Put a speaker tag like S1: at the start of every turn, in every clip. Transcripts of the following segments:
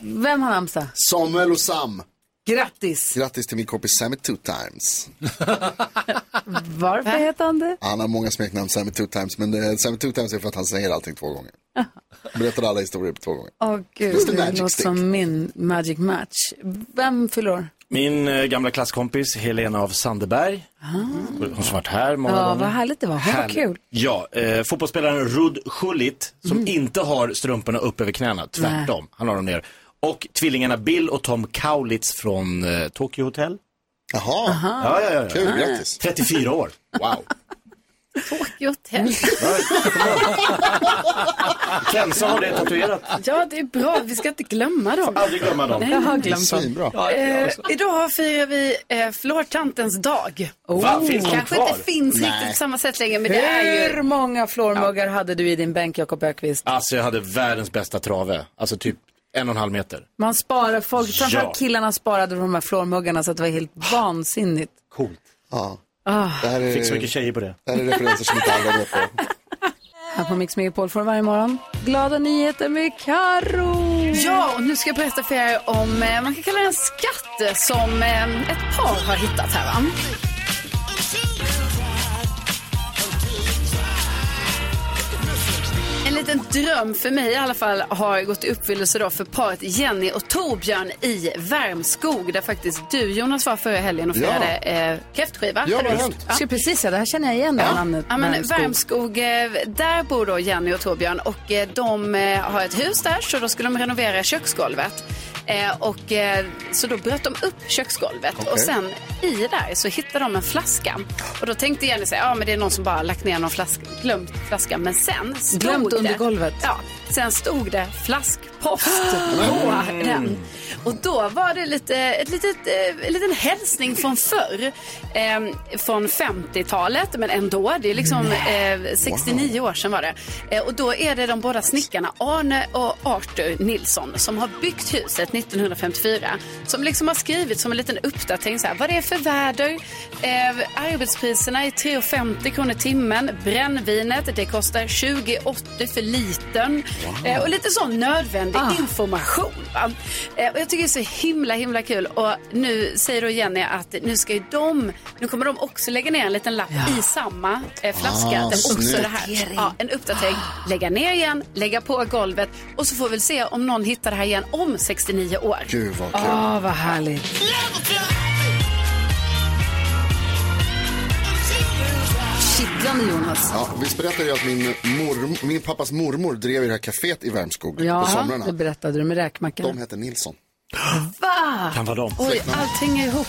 S1: vem har namnsdag?
S2: Samuel och Sam.
S1: Grattis!
S2: Grattis till min kompis Sammy Two Times.
S1: Varför heter han det?
S2: Han har många smeknamn, Sammy Two Times, men eh, Sammy Two Times är för att han säger allting två gånger. Berättar alla historier på två gånger.
S1: Åh gud,
S2: Mr.
S1: det
S2: Magic
S1: låter
S2: Stick.
S1: som min Magic Match. Vem fyller år?
S3: Min eh, gamla klasskompis Helena av Sandeberg. Hon som varit här många
S1: Ja,
S3: gånger.
S1: vad härligt det var. Ja, Vad
S3: Härligt.
S1: kul.
S3: Ja, eh, fotbollsspelaren Rud Schullit som inte har strumporna upp över knäna, tvärtom. Han har dem ner. Och tvillingarna Bill och Tom Kaulitz från eh, Tokyo Hotel.
S2: Jaha,
S3: Ja, ja, ja, ja.
S2: Ah. kul, grattis.
S3: 34 år. Wow.
S4: Tokyo Hotel.
S3: Kensa har det tatuerat.
S4: Ja, det är bra. Vi ska inte glömma dem.
S3: Aldrig glömma dem.
S1: Jag har glömt dem.
S2: Svinbra.
S4: Eh, idag firar vi eh, flårtantens dag. Oh.
S3: Va, finns de
S4: Kanske
S3: kvar?
S4: inte finns riktigt
S2: Nej.
S4: på samma sätt längre, men det är
S1: Hur
S4: ju...
S1: många flormuggar hade du i din bänk, Jakob Ökvist?
S3: Alltså jag hade världens bästa trave. Alltså typ en och en halv meter.
S1: Man sparar folk, framförallt
S3: Ja.
S1: killarna sparade de här flormuggarna så att det var helt vansinnigt.
S3: Coolt.
S2: Ja.
S1: Ah.
S2: Det, här är,
S3: Fick så mycket tjejer på det.
S2: det här är referenser som inte alla vet på.
S1: Här på Mix Megapol får du varje morgon glada nyheter med Karo.
S4: Ja, och nu ska jag berätta för er om, eh, man kan kalla det en skatt som eh, ett par har hittat här va? En liten dröm för mig i alla fall har gått i uppfyllelse då för paret Jenny och Torbjörn i Värmskog där faktiskt du Jonas var förra helgen och
S2: Ja.
S4: firade eh, kräftskiva.
S2: Ja,
S4: Eller
S2: vad
S4: hur?
S2: hänt?
S1: Ja. Precis, ja, det här känner jag igen, det här namnet.
S4: Ja, men
S1: Värmskog.
S4: Värmskog, eh, där bor då Jenny och Torbjörn och eh, de eh, har ett hus där så då skulle de renovera köksgolvet. Eh, Och, eh, så då bröt de upp köksgolvet och sen i där så hittade de en flaska. Och då tänkte Jenny sig, ja men det är någon som bara lagt ner någon flaska, glömt flaskan. Men sen stod
S1: Glömt
S4: det,
S1: under golvet.
S4: Ja, sen stod det flaskpost på
S1: Mm.
S4: den. Och då var det lite, ett litet, eh, en liten hälsning från förr. Eh, från 50-talet, men ändå. Det är liksom eh, 69 år sedan var det. Eh, och då är det de båda snickarna Arne och Arthur Nilsson som har byggt huset 1954. Som liksom har skrivit som en liten uppdatering så här, vad det är för väder. Eh, arbetspriserna är 3,50 kronor timmen. Brännvinet, det kostar 20,80 för litern. Eh, och lite sån nödvändig
S2: Ah.
S4: information. Va? Eh, och jag tycker det är så himla, himla kul. Och nu säger då Jenny att nu ska ju de, nu kommer de också lägga ner en liten lapp i samma eh, flaska.
S2: Ah,
S4: där också
S2: snyggt.
S4: det här. Ja, en uppdatering. Lägga ner igen, lägga på golvet och så får vi väl se om någon hittar det här igen om 69 år.
S2: Gud vad kul.
S1: Åh, vad härligt. Kittlande, Jonas.
S2: Ja, visst berättade jag att min, morm- min pappas mormor drev i det här kaféet i Värmskog på
S1: Ja, det
S2: somrarna.
S1: berättade du med räkmackan.
S2: De hette Nilsson.
S1: Va?
S3: Kan vara dem.
S4: Oj, allt hänger ihop.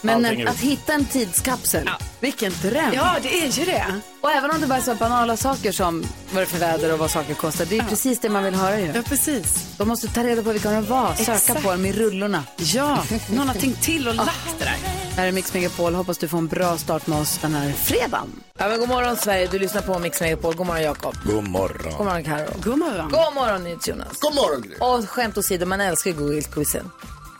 S1: Men
S3: Allting
S1: en,
S3: är-
S1: att hitta en tidskapsel, vilken dröm.
S4: Ja, det är ju det.
S1: Och även om det bara är så banala saker som vad det är för väder och vad saker kostar, det är ju precis det man vill höra ju.
S4: precis.
S1: De måste ta reda på vilka de var, söka
S4: Exakt.
S1: på dem i rullorna.
S4: Ja, någon har tänkt till och lagt det där.
S1: Här är Mix Megapol, hoppas du får en bra start med oss den här fredagen.
S5: Ja, men god morgon Sverige, du lyssnar på Mix Megapol. God morgon Jakob.
S3: God morgon.
S5: God morgon Karo.
S4: God morgon.
S5: God morgon NyhetsJonas.
S2: God morgon Gry.
S5: Och skämt åsido, man älskar ju Google-quizen.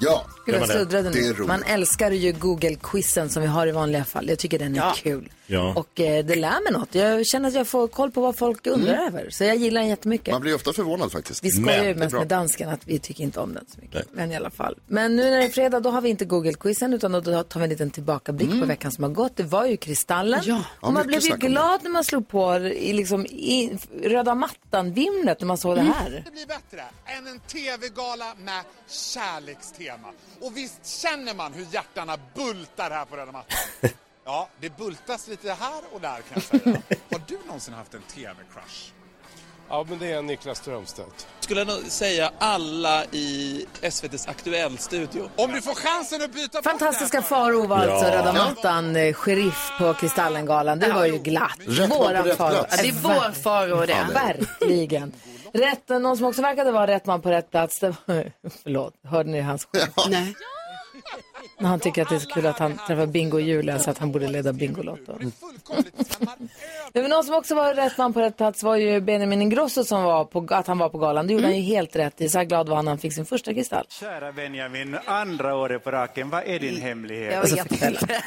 S2: Ja,
S5: Gud, jag
S3: man det?
S5: sluddrade
S2: Det är
S5: nu.
S2: roligt.
S5: Man älskar ju Google-quizen som vi har i vanliga fall. Jag tycker den är kul.
S3: Ja.
S5: Och eh, det lär mig något. Jag känner att jag får koll på vad folk undrar över. Så jag gillar den jättemycket.
S2: Mm. man blir ofta förvånad faktiskt.
S5: Vi skojar
S3: Men,
S5: ju
S3: det är
S5: mest
S3: bra.
S5: med dansken att vi tycker inte om den så mycket. Men i alla fall. Men nu när det är fredag då har vi inte Google-quizen utan då tar vi en liten tillbakablick på veckan som har gått. Det var ju Kristallen. och
S2: mycket
S5: man blev ju
S2: snack om
S5: glad när man slog på i, liksom, i röda mattan-vimlet när man såg det här.
S6: inte bli bättre än en TV-gala med kärlekstema. Och visst känner man hur hjärtarna bultar här på röda mattan? Ja, det bultas lite här och där kan jag säga. Har du någonsin haft en TV-crush?
S7: Ja, men det är Niklas Strömstedt.
S8: skulle jag nog säga alla i SVTs Aktuell-studio.
S6: Om du får chansen att byta fot
S5: Fantastiska
S6: där,
S5: Faro var alltså
S3: Ja.
S5: röda mattan eh, sheriff på Kristallengalan. Det var ju glatt.
S2: Rätt man på rätt
S5: Faro.
S2: plats.
S4: Ja, det är vår faror det.
S5: Verkligen. Rätt, någon som också verkade vara rätt man på rätt plats, det var, förlåt, hörde ni hans skämt?
S4: Nej.
S5: När han tycker att det är så kul att han träffar Bingo och Julia så att han borde leda Bingolotto.
S4: Mm.
S5: Nej, Men någon som också var rätt man på rätt plats var ju Benjamin Ingrosso som var på, att han var på galan. Det gjorde han ju helt rätt i. Så här glad var han när han fick sin första kristall.
S9: Kära Benjamin, andra året på raken, vad är
S10: Mm.
S9: din hemlighet?
S5: Jag vet
S11: inte.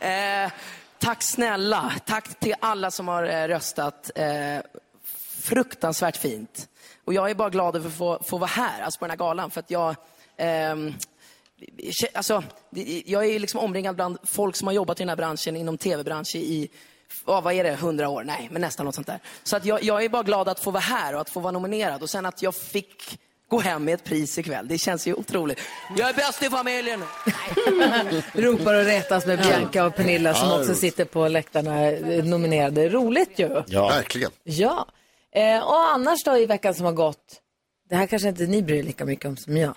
S11: eh, tack snälla. Tack till alla som har eh, röstat. Eh, fruktansvärt fint. Och jag är bara glad över att få, få vara här, alltså på den här galan, för att jag ehm, kä- Alltså, det- jag är ju liksom omringad bland folk som har jobbat i den här branschen, inom tv-branschen i, ja, vad är det, hundra år? Nej, men nästan något sånt där. Så att jag, jag är bara glad att få vara här och att få vara nominerad och sen att jag fick gå hem med ett pris ikväll. Det känns ju otroligt. Jag är bäst i familjen!
S5: Ropar och retas med Bianca och Pernilla som
S11: Ja,
S5: också
S11: roligt.
S5: sitter på läktarna eh, nominerade. Roligt ju.
S2: Ja. Verkligen.
S5: Ja. Eh, och annars då i veckan som har gått? Det här kanske inte ni bryr er lika mycket om som jag.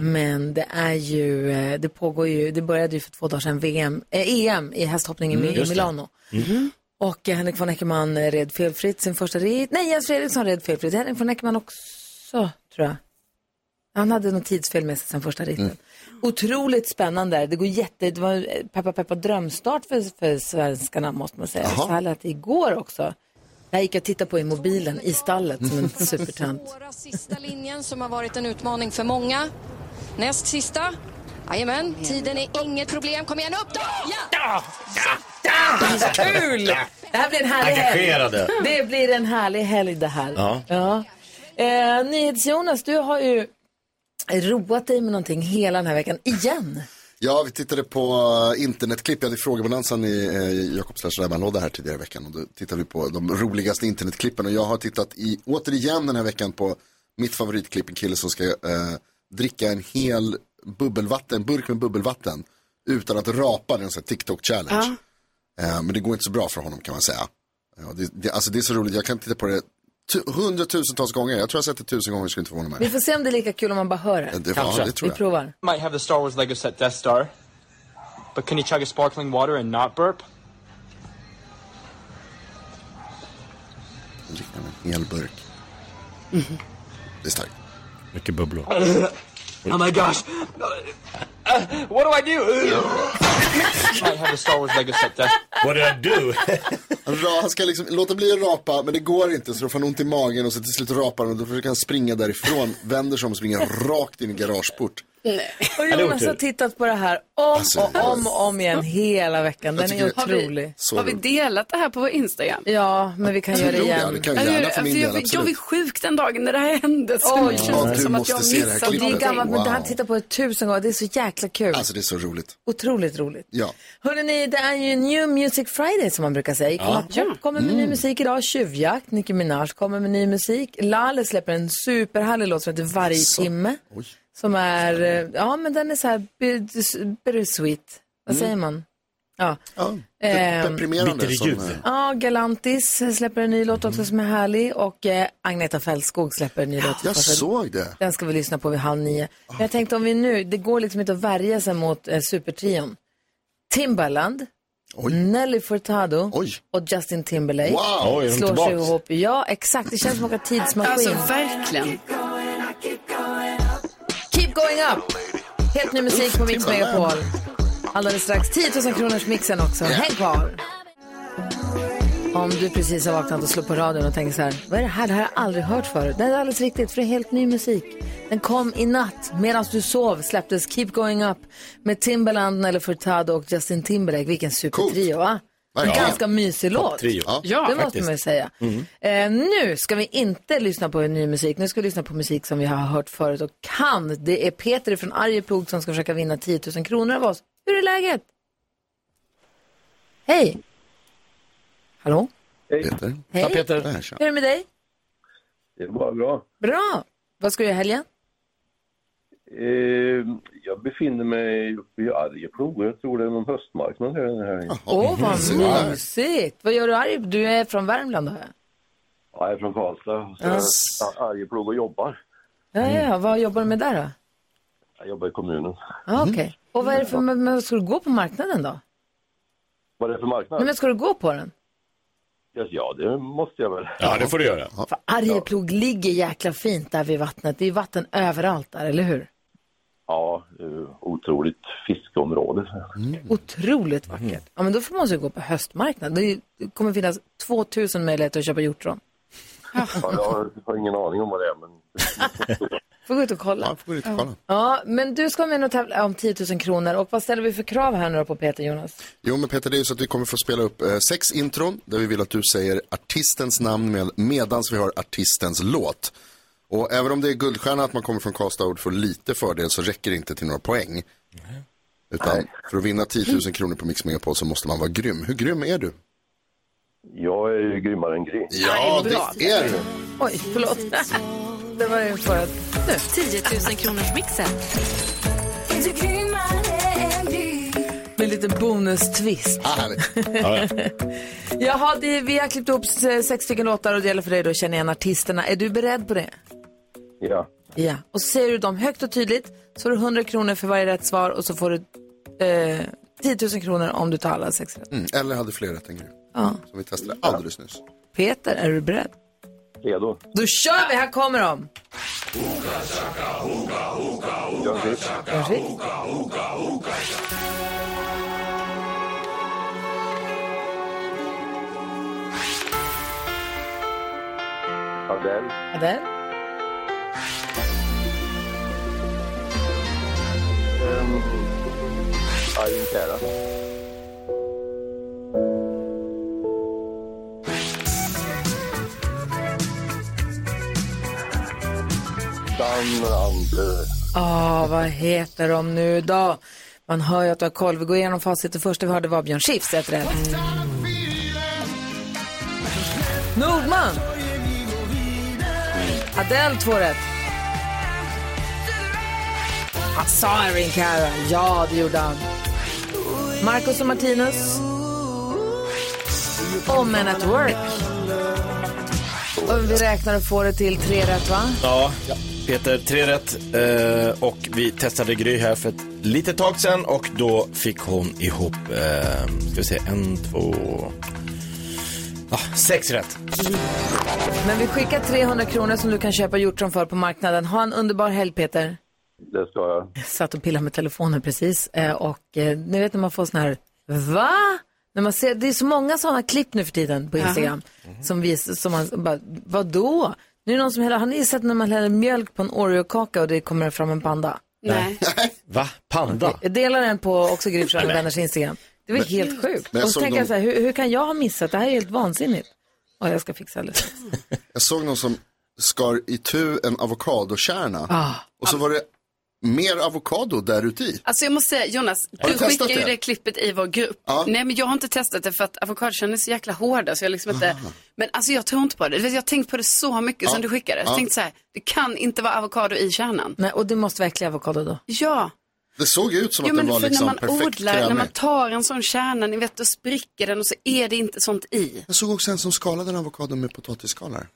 S5: Men det är ju, eh, det pågår ju, det började ju för två dagar sedan VM, eh, EM i hästhoppning i
S11: Mm,
S5: Mi- i Milano. Och eh, Henrik von Eckermann eh, red felfritt sin första rit. Nej, Jens Fredriksson red felfritt. Henrik von Eckermann också, tror jag. Han hade något tidsfel med sig sen första ritten. Otroligt spännande. Det går jätte, det var eh, peppa peppa drömstart för, för svenskarna måste man säga. Så här lät det igår också. Det här gick jag och tittade på i mobilen i stallet som en supertant.
S12: Svåra sista linjen som har varit en utmaning för många. Näst sista. Jajamän, tiden är inget problem. Kom igen, upp då! Ja!
S5: Kul! Det här blir en härlig
S3: Engagerade.
S5: helg. Det blir en härlig helg det här.
S3: Ja.
S5: Ja. Eh, NyhetsJonas, du har ju roat dig med någonting hela den här veckan igen.
S2: Ja, vi tittade på eh, internetklipp. Jag hade frågebalansen i eh, Jakobs Lasse Rävman-låda här tidigare i veckan. Och då tittade vi på de roligaste internetklippen. Och jag har tittat i, återigen den här veckan på mitt favoritklipp. En kille som ska eh, dricka en hel bubbelvatten, en burk med bubbelvatten. Utan att rapa. Det är en sån här TikTok-challenge. Eh, men det går inte så bra för honom kan man säga. Ja, det, det, alltså det är så roligt. Jag kan titta på det tu- hundratusentals gånger. Jag tror jag har sett det tusen gånger. Skulle inte förvåna
S5: Vi
S2: mig.
S5: får se om det är lika kul om man bara hör det.
S2: Ja, det- ja, det tror jag.
S5: Vi provar.
S13: might have the Star Wars Lego set Death Star, but can you chug a sparkling water and not burp?
S2: Dricker en hel burk. Det är starkt.
S3: Mycket bubblor.
S13: oh my gosh! Uh, what do I do? might have the Star Wars Lego set Death.
S3: What did I do?
S2: Han ra- Han ska liksom låta bli att rapa, men det går inte så då får han ont i magen och så till slut rapar han och då försöker han springa därifrån, vänder sig om och springer rakt in i garageport.
S5: Och
S2: Ja, det var
S5: Jonas
S2: tur.
S5: har tittat på det här om
S2: Alltså,
S5: och om och om igen hela veckan.
S2: Jag
S5: Den är
S2: tycker det är
S5: otrolig.
S2: så
S4: Har vi delat det här på vår Instagram?
S5: Ja, men vi kan
S4: Jag
S5: göra det
S4: tror
S5: igen.
S4: det, det kan vi gärna för min
S14: Alltså,
S4: del, absolut. Jag var sjuk den dagen när det här hände. Så nu känns det som att jag missade
S5: det är
S4: någonting.
S5: gammalt, men han tittar på det tusen gånger. Det är så jäkla kul.
S2: Alltså det är så roligt.
S5: Otroligt roligt.
S2: Ja.
S5: Hörrni, det är ju New Music Friday som man brukar säga. Icona
S2: Ja.
S5: Pop kommer med ny
S2: Mm.
S5: musik idag. Tjuvjakt, Nicki Minaj kommer med ny musik. Laleh släpper en superhärlig låt som heter Varje timme. Som är, eh, ja men den är så här bit- bittersweet. Vad
S2: Mm.
S5: säger man? Ja.
S2: ja
S5: Ehm,
S2: Deprimerande. Som, eh,
S5: Ja, Galantis släpper en ny låt också som är härlig och eh, Agneta Fältskog släpper en ny låt.
S2: jag
S5: Första-
S2: såg det.
S5: Den ska vi lyssna på vid halv nio. Men jag tänkte om vi nu, det går liksom inte att värja sig mot eh, supertrion. Timbaland, Nelly Furtado och Justin Timberlake
S4: Wow, oj, är de
S5: slår sig
S4: tillbaks?
S5: ihop. Ja, exakt. Det känns som att åka tidsmaskin.
S4: Alltså verkligen.
S5: Keep going up! Helt ny musik på Mix
S4: Timbaland.
S5: Megapol. Alldeles strax 10 000 kronors mixen också. Häng kvar! Om du precis har vaknat och slår på radion och tänker så här, vad är det här? Det här har jag aldrig hört förut. Det är alldeles riktigt, för det är helt ny musik. Den kom i natt, medan du sov, släpptes Keep Going Up med Timbaland, eller Furtado och Justin Timberlake. Vilken supertrio, va? En
S11: Verkligen.
S5: ganska mysig låt.
S11: Topptrio. Ja,
S5: det måste
S11: faktiskt.
S5: man ju säga.
S11: Mm.
S5: Eh, nu ska vi inte lyssna på ny musik. Nu ska vi lyssna på musik som vi har hört förut och kan. Det är Peter från Arjeplog som ska försöka vinna 10 000 kronor av oss. Hur är läget? Hej! Hallå?
S2: Peter.
S5: Hej. Ja, Peter. Hur är det med dig?
S10: Det är bara bra.
S5: Bra! Vad ska du göra i helgen?
S10: Eh, jag befinner mig uppe i Arjeplog och jag tror det är någon höstmarknad här den här helgen.
S5: Åh,
S11: mm.
S5: vad mysigt! Vad gör du i Arjeplog? Du är från Värmland, hör jag.
S10: Ja, jag är från Karlstad. Så jag är i Arjeplog och jobbar.
S5: Ja,
S11: Mm.
S5: ja, vad jobbar du med där då?
S10: Jag jobbar i kommunen.
S5: Ah,
S11: Mm.
S5: Okej. Och vad är det för, men, men ska du gå på marknaden då?
S10: Vad är det för marknad?
S5: Nej, men ska du gå på den?
S10: Ja, ja, det måste jag väl.
S3: Ja, det får du göra.
S5: Arjeplog ligger jäkla fint där vid vattnet. Det är ju vatten överallt där, eller hur?
S10: Ja, eh, otroligt fiskeområde.
S5: Otroligt vackert. Ja, men då får man ju gå på höstmarknaden. Det är ju- Det kommer finnas 2000 möjligheter att köpa hjortron.
S10: Ja, jag har- har ingen aning om vad det är, men...
S5: Får gå ut och kolla. Ja,
S2: får gå ut och kolla.
S5: Ja, men du ska vara med och tävla om 10 000 kronor. Och vad ställer vi för krav här nu då på Peter Jonas?
S2: Jo, men Peter, det är ju så att vi kommer få spela upp eh, sex intron där vi vill att du säger artistens namn med, medans vi har artistens låt. Och även om det är guldstjärna att man kommer från Karlstad och får lite fördel så räcker det inte till några poäng. Utan för att vinna 10 000 kronor på Mix Megapol så måste man vara grym. Hur grym är du?
S10: Jag är ju grymmare än Gry.
S2: Ja, det är du.
S5: Oj, förlåt. Det var ju för att... Nu.
S15: 10 000 kronors mixen.
S5: Med lite bonus-twist.
S2: Ah,
S5: ja, Jaha, det, vi har klippt ihop s- sex stycken låtar och det gäller för dig då att känna igen artisterna. Är du beredd på det?
S10: Ja.
S5: Ja. Och så säger du dem högt och tydligt så får du 100 kronor för varje rätt svar och så får du eh, 10 000 kronor om du tar alla sex rätt.
S2: Mm, eller hade fler rätt än Gry.
S5: Ja.
S2: Som vi testade alldeles nyss.
S5: Peter, är du beredd?
S10: Redo.
S5: Då kör vi! Här kommer de!
S10: Björn Skifs. Adele.
S5: Adele.
S10: Ehm, Irene Cara. Dan Ander.
S5: Ah, vad heter de nu då? Man hör ju att du har koll. Vi går igenom facit. Det första vi hörde var Björn Skifs, ett rätt. Nordman! Adele, två rätt. Han sa Irene Cara. Ah, Ja, det gjorde han. Marcus och Martinus. Och Men at Work. Och vi räknar och får det till tre rätt, va?
S3: Ja, Peter, tre rätt. Eh, och vi testade Gry här för ett litet tag sedan och då fick hon ihop, eh, ska vi se, en, två, ah, sex rätt.
S5: Men vi skickar 300 kronor som du kan köpa hjortron för på marknaden. Ha en underbar helg Peter.
S10: Det ska jag.
S5: Jag satt och pillade med telefonen precis eh, och eh, ni vet när man får sån här va? När man ser, det är så många sådana klipp nu för tiden på
S15: Ja.
S5: Instagram som visar, som man bara, vadå? Nu är det någon som häller, har ni sett när man häller mjölk på en Oreo-kaka och det kommer fram en panda?
S4: Nej.
S3: Va? Panda?
S5: Jag delar den på också Gry Forssell med vänners Instagram. Det var
S3: Men-
S5: helt sjukt.
S2: Men
S5: Och
S2: jag
S5: så
S2: såg
S5: tänker jag
S2: någon-
S5: så här, hur, hur kan jag ha missat? Det här är helt vansinnigt. Och jag ska fixa det.
S2: Jag såg någon som skar i tu en avokadokärna.
S5: Ah.
S2: Och så var det mer avokado där uti.
S4: Alltså jag måste säga, Jonas,
S2: Har
S4: du
S2: du testat
S4: skickar ju
S2: det?
S4: det klippet i vår grupp.
S2: Ja.
S4: Nej, men jag har inte testat det för att avokadokärnor är så jäkla hårda så jag liksom inte... Men alltså jag tror inte på det. Du vet, Jag har tänkt på det så mycket
S5: Ja.
S4: sen du skickade. Jag
S5: Ja.
S4: tänkte så här, det kan inte vara avokado i kärnan.
S5: Nej, och det måste vara äcklig avokado då.
S4: Ja.
S2: Det såg ut som
S4: Jo,
S2: att den
S4: men
S2: var
S4: för
S2: liksom
S4: när man
S2: perfekt
S4: odlar, när
S2: krämig.
S4: man tar en sån kärna, ni vet, då spricker den och så är det inte sånt i.
S2: Jag såg också en som skalade en avokado med potatisskalar.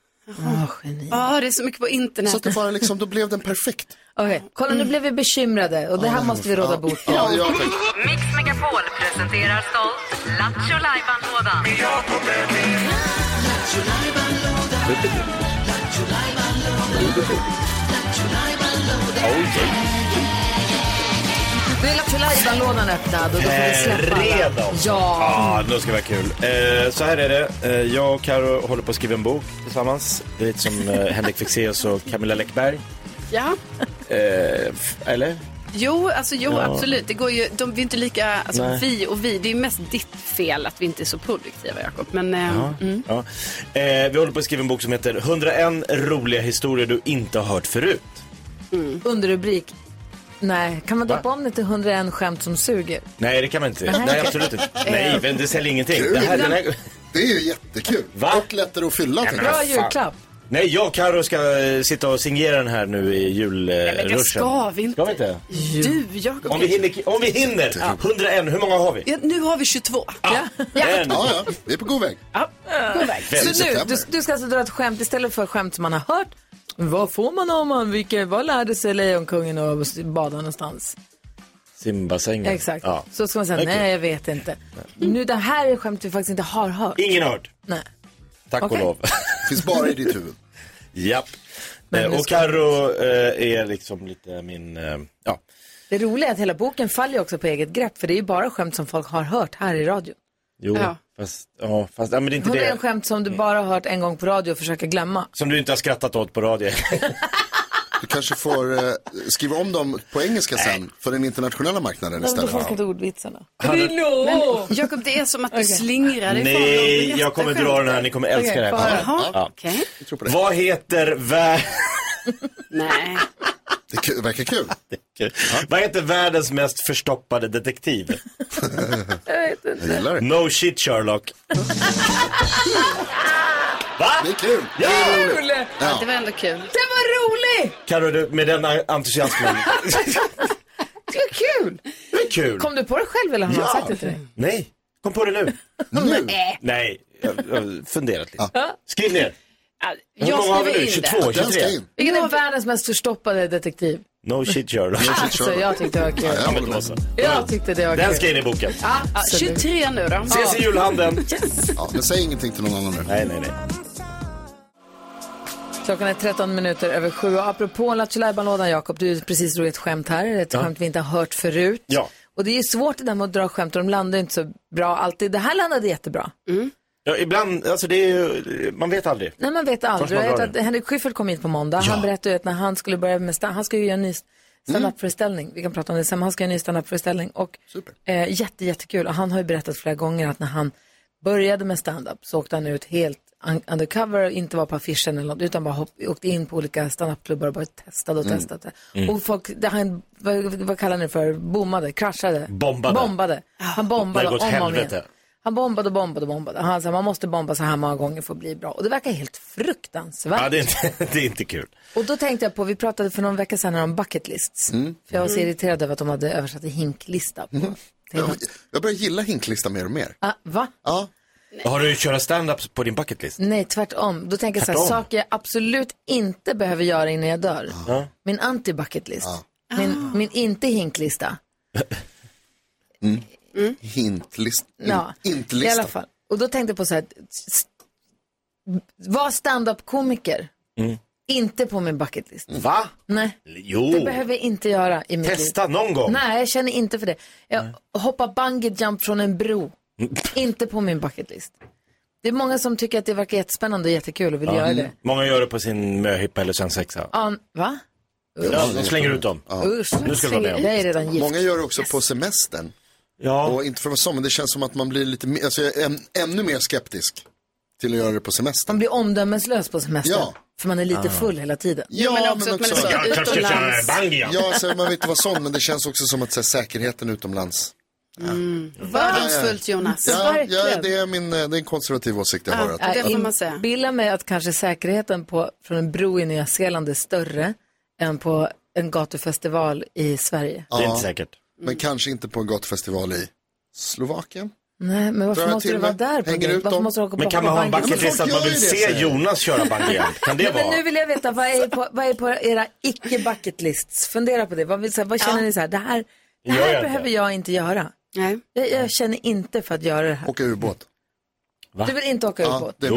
S4: Ja, det är så mycket på internet.
S2: Så att det bara liksom, då blev den perfekt.
S5: Okej, kolla nu blev vi bekymrade och det här måste vi råda bot på.
S2: Ja, ja, tack.
S15: Mix Megapol presenterar stolt Lattjo Lajban-lådan.
S5: Nu är Lattjo Lajban-lådan öppnad och då får vi släppa alla.
S3: Redan?
S5: Ja.
S3: Ja, nu ska det vara kul. Eh, så här är det. Eh, jag och Karo håller på att skriva en bok tillsammans. Det är lite som eh, Henrik Fexeus och Camilla Läckberg.
S4: Ja.
S3: Eh, f- eller?
S4: Jo, alltså jo,
S3: Ja.
S4: absolut. Det går ju, de, vi är inte lika, alltså,
S3: Nej.
S4: vi och vi, det är ju mest ditt fel att vi inte är så produktiva, Jakob. Men, eh,
S3: Ja.
S4: mm.
S3: Ja. Eh, vi håller på att skriva en bok som heter 101 roliga historier du inte har hört förut.
S5: Underrubrik. Nej, kan man döpa om det till 101 skämt som suger?
S3: Nej, det kan man inte.
S5: Nej.
S3: Nej, absolut inte. Nej, men det säljer ingenting.
S2: Kul.
S3: Det, här, den här...
S2: det är ju jättekul. Och lättare att fylla. tänker jag.
S3: alltså.
S5: Bra julklapp.
S3: Nej, jag och Karo ska eh, sitta och signera den här nu i julruschen.
S4: men det ska vi inte.
S3: Ska vi inte?
S4: Du, Jakob.
S3: Om vi hinner, om vi hinner. 101, hur många har vi?
S4: Ja, nu har vi 22. Ja.
S3: En.
S2: Ja, ja, vi är på god väg.
S4: God väg.
S5: Så nu, du, du ska alltså dra ett skämt istället för skämt som man har hört. Vad får man om man, vilka, vad lärde sig Lejonkungen att bada någonstans?
S3: Simbassängen.
S5: Exakt.
S3: Ja.
S5: Så ska man säga,
S3: Okej.
S5: nej jag vet inte. Nu det här är skämt vi faktiskt inte har hört.
S3: Ingen har hört.
S5: Nej.
S3: Tack
S1: Okej.
S3: och lov.
S2: Finns bara i ditt huvud.
S3: Japp.
S5: Men
S3: Eh,
S5: nu
S3: och
S5: ska-
S3: Carro eh, är liksom lite min, eh, ja.
S5: Det roliga är att hela boken faller ju också på eget grepp för det är ju bara skämt som folk har hört här i radio.
S3: Jo,
S5: Ja.
S3: fast, ja, fast, ja men det är inte
S5: Hon är en
S3: det.
S5: skämt som du bara har hört en gång på radio och försöker glömma.
S3: Som du inte har skrattat åt på radio.
S2: Du kanske får eh, skriva om dem på engelska sen för den internationella marknaden
S5: Men då
S2: istället.
S5: får jag inte ordvitsarna.
S4: Men Jakob, det är som att du slingrar dig från dem.
S3: Nej,
S4: Det är
S3: jag kommer
S4: jätteskönt.
S3: dra den här, ni kommer älska
S4: Okej,
S3: det
S4: bara-
S3: här.
S4: Jaha, okej.
S3: Vad heter vär...
S4: Nej.
S2: Det är kul- verkar kul.
S3: Vad heter världens mest förstoppade detektiv?
S5: Jag vet inte.
S2: Jag gillar det.
S3: No shit Sherlock. Va?
S2: Det är kul.
S3: Ja!
S4: Ja, det var ändå kul.
S5: Det var roligt!
S3: Carro, du, med den entusiasmen.
S5: Det var kul!
S3: Det är kul.
S5: Kom du på det själv eller har han
S3: Ja.
S5: sagt det till dig?
S3: Nej, kom på det nu.
S5: Nej.
S3: Nej, jag jag har funderat lite. Skriv ner. Hur
S5: Jag
S3: många har vi
S5: skriver
S3: nu? 22,
S5: in det.
S3: 23?
S5: Vilken är världens mest förstoppade detektiv?
S3: No shit Sherlock.
S5: Alltså, jag tyckte det var kul.
S3: Ja, men då så.
S5: Jag tyckte det var
S3: Den
S5: kul.
S3: ska in i boken.
S4: Ja, ja, 23 nu då.
S3: Ses i julhandeln.
S2: Ja, men säg ingenting till någon annan nu.
S3: Nej, nej, nej.
S5: Klockan är 13 minuter över sju. Och apropå Lattjo Lajban-lådan, Jakob, du precis drog ett skämt här, ett
S1: Ja.
S5: skämt vi inte har hört förut.
S1: Ja.
S5: Och det är ju svårt det där med att dra skämt och de landar ju inte så bra alltid. Det här landade jättebra.
S3: Ja, ibland, alltså det är ju, man vet aldrig.
S5: Nej, man vet
S3: Först
S5: aldrig.
S3: man
S5: Jag vet
S3: drar
S5: att Henrik Schyffert kom hit på måndag. Han berättade ju att när han skulle börja med stand han ska ju göra en
S1: Mm.
S5: ny standup-föreställning. Vi kan prata om det sen, men han ska göra en ny standup-föreställning. Och eh, jätte, jättekul. Och han har ju berättat flera gånger att när han började med standup så åkte han ut helt un- undercover, inte var på affischen eller något, utan bara hopp, åkte in på olika standupklubbar och bara testade och
S1: Mm.
S5: testade.
S1: Mm.
S5: Och folk, det, han, vad, vad kallar ni det för, bommade, kraschade,
S1: Bombade. Ah.
S5: bombade. Han bombade
S1: Det har
S5: om
S1: gått
S5: och om igen.
S1: helvete.
S5: Han bombade och bombade och bombade. Han sa man måste bomba så här många gånger för att bli bra. Och det verkar helt fruktansvärt.
S3: Ja, det, är inte, det är inte kul.
S5: Och då tänkte jag på, vi pratade för någon vecka sedan om bucket lists. För jag var så
S2: Mm.
S5: irriterad över att de hade översatt till hinklista. På.
S3: Mm.
S2: Jag, jag börjar gilla hinklista mer och mer.
S5: Ah, va?
S2: Ja.
S3: Har du kört stand-up på din bucketlist?
S5: Nej, tvärtom. Då tänker jag så här,
S3: Tvärtom.
S5: saker jag absolut inte behöver göra innan jag dör.
S3: Ja.
S5: Min anti-bucket list. Min, min inte hinklista.
S2: Hintlist.
S5: Ja,
S2: Hintlista.
S5: i alla fall. Och då tänkte jag på så här, s- var stand-up-komiker.
S3: Mm.
S5: Inte på min bucket list.
S3: Va?
S5: Nej.
S3: Jo.
S5: Det behöver jag inte göra i mitt
S3: Oh. Testa
S5: liv.
S3: någon gång.
S5: Nej, jag känner inte för det. Jag hoppa bungee jump från en bro. inte på min bucket list. Det är många som tycker att det verkar jättespännande och jättekul och vill
S3: Ja.
S5: göra det.
S3: Många gör det på sin möhippa eller svensexa.
S5: Ja, n- va?
S3: Ja, de slänger ut dem.
S5: Usch.
S3: Nu ska du vara med om.
S5: Jag är redan gift.
S2: Många gör det också på semestern.
S3: Ja.
S2: Och inte för att vara sån, men det känns som att man blir lite mer, alltså jag är än, ännu mer skeptisk till att göra det på semestern.
S5: Man blir omdömeslös på semestern.
S2: Ja.
S5: För man är lite
S2: Ah.
S5: full hela tiden.
S2: Ja, så man vill inte vara sån, men det känns också som att så här, säkerheten utomlands.
S4: Mm. Fördomsfullt Jonas.
S2: Ja, ja det, är min, eh, det är en konservativ åsikt jag har. Att,
S5: Jag
S2: att,
S5: inbillar mig att kanske säkerheten på, från en bro i Nya Zeeland är större än på en gatufestival i Sverige.
S2: Ja, Men kanske inte på en gatufestival i Slovakien.
S5: Nej, men varför
S2: Drar jag
S5: måste
S2: till
S5: du vara
S2: med?
S5: där på
S2: Hänger
S5: det?
S2: ut
S5: Varför
S2: dem?
S5: måste du åka
S3: Men
S5: på
S3: kan man ha en
S5: Hawaii?
S3: bucket list att man vill
S2: folk gör ju
S3: se
S2: det, säger jag.
S3: Jonas köra bungyjump? Kan det
S5: Nej, men
S3: vara?
S5: nu vill jag veta, vad är på, vad är på era icke bucket lists? Fundera på det. Vad, vill, så här, vad känner ni så här, det här, det
S3: Gör
S5: här
S3: jag inte.
S5: behöver jag inte göra.
S4: Nej.
S5: Jag, jag känner inte för att göra det här.
S2: Åka ubåt.
S5: Du vill inte åka
S2: Ja,
S5: ubåt?
S2: det är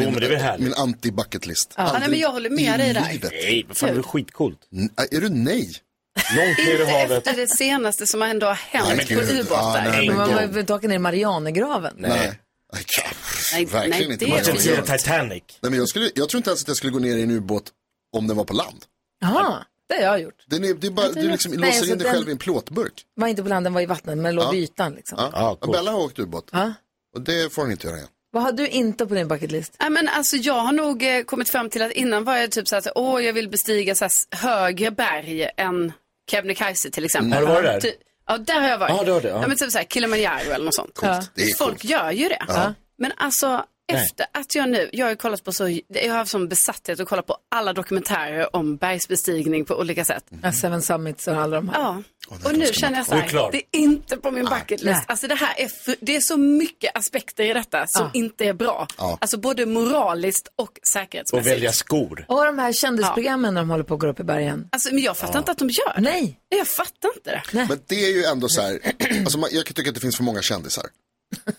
S2: min, min anti-bucketlist.
S5: Ja.
S4: Ja, nej, men jag håller med dig där.
S3: Nej, vad fan, det är skitcoolt.
S2: Är du nej?
S3: Långt ner i havet.
S4: Efter det senaste som ändå har hänt
S2: Nej,
S4: på
S2: gud. Ah,
S4: ubåtar.
S2: nej,
S5: Men
S2: men
S5: man
S2: gud.
S5: behöver inte åka ner i Marianergraven.
S2: Nej.
S4: Nej,
S2: Verkligen
S4: nej,
S2: inte.
S4: det är
S2: Marianne.
S3: inte Titanic.
S2: Nej, men jag, skulle, jag tror inte ens att jag skulle gå ner i en ubåt om den var på land.
S5: Jaha, det har jag gjort.
S2: Det är, det är bara, du liksom
S5: Nej,
S2: låser
S5: alltså
S2: in dig
S5: den-
S2: själv i en plåtburk.
S5: Var inte på land, den var i vattnet, men låg vid ytan liksom.
S2: Ja. Bella har åkt ubåt. Och det får hon inte göra igen.
S5: Vad har du inte på din bucket list?
S4: Nej, men alltså, jag har nog eh, kommit fram till att innan var jag typ så att åh, jag vill bestiga så här, s- högre berg än Kebnekaise till
S3: Har du
S4: exempel.
S3: varit där?
S4: Ty- Ja, där har jag varit.
S3: Ja, det har du, ja.
S4: men typ så här, Kilimanjaro eller något sånt.
S3: Det är
S4: Folk gör ju det.
S3: Ja.
S4: Men alltså,
S3: Nej.
S4: efter att jag nu, jag har ju kollat på så, jag har haft sån besatthet att kolla på alla dokumentärer om bergsbestigning på olika sätt.
S5: Ja, Seven Summits och alla de här.
S4: Ja, Och nu känner jag så
S5: Du är
S4: här,
S5: klar.
S4: det är inte på min
S3: Ah,
S4: bucket list.
S5: Nej.
S4: Alltså det här är, för, det är så mycket aspekter i detta som
S5: Ja.
S4: inte är bra.
S3: Ja.
S4: Alltså både moraliskt och säkerhetsmässigt.
S3: Och välja skor.
S5: Och de här kändisprogrammen när de håller på att gå upp i bergen.
S4: Alltså, men jag fattar inte att de gör det.
S5: Nej.
S4: Jag fattar inte det.
S2: Men det är ju ändå så här, alltså man, jag kan tycka att det finns för många kändisar.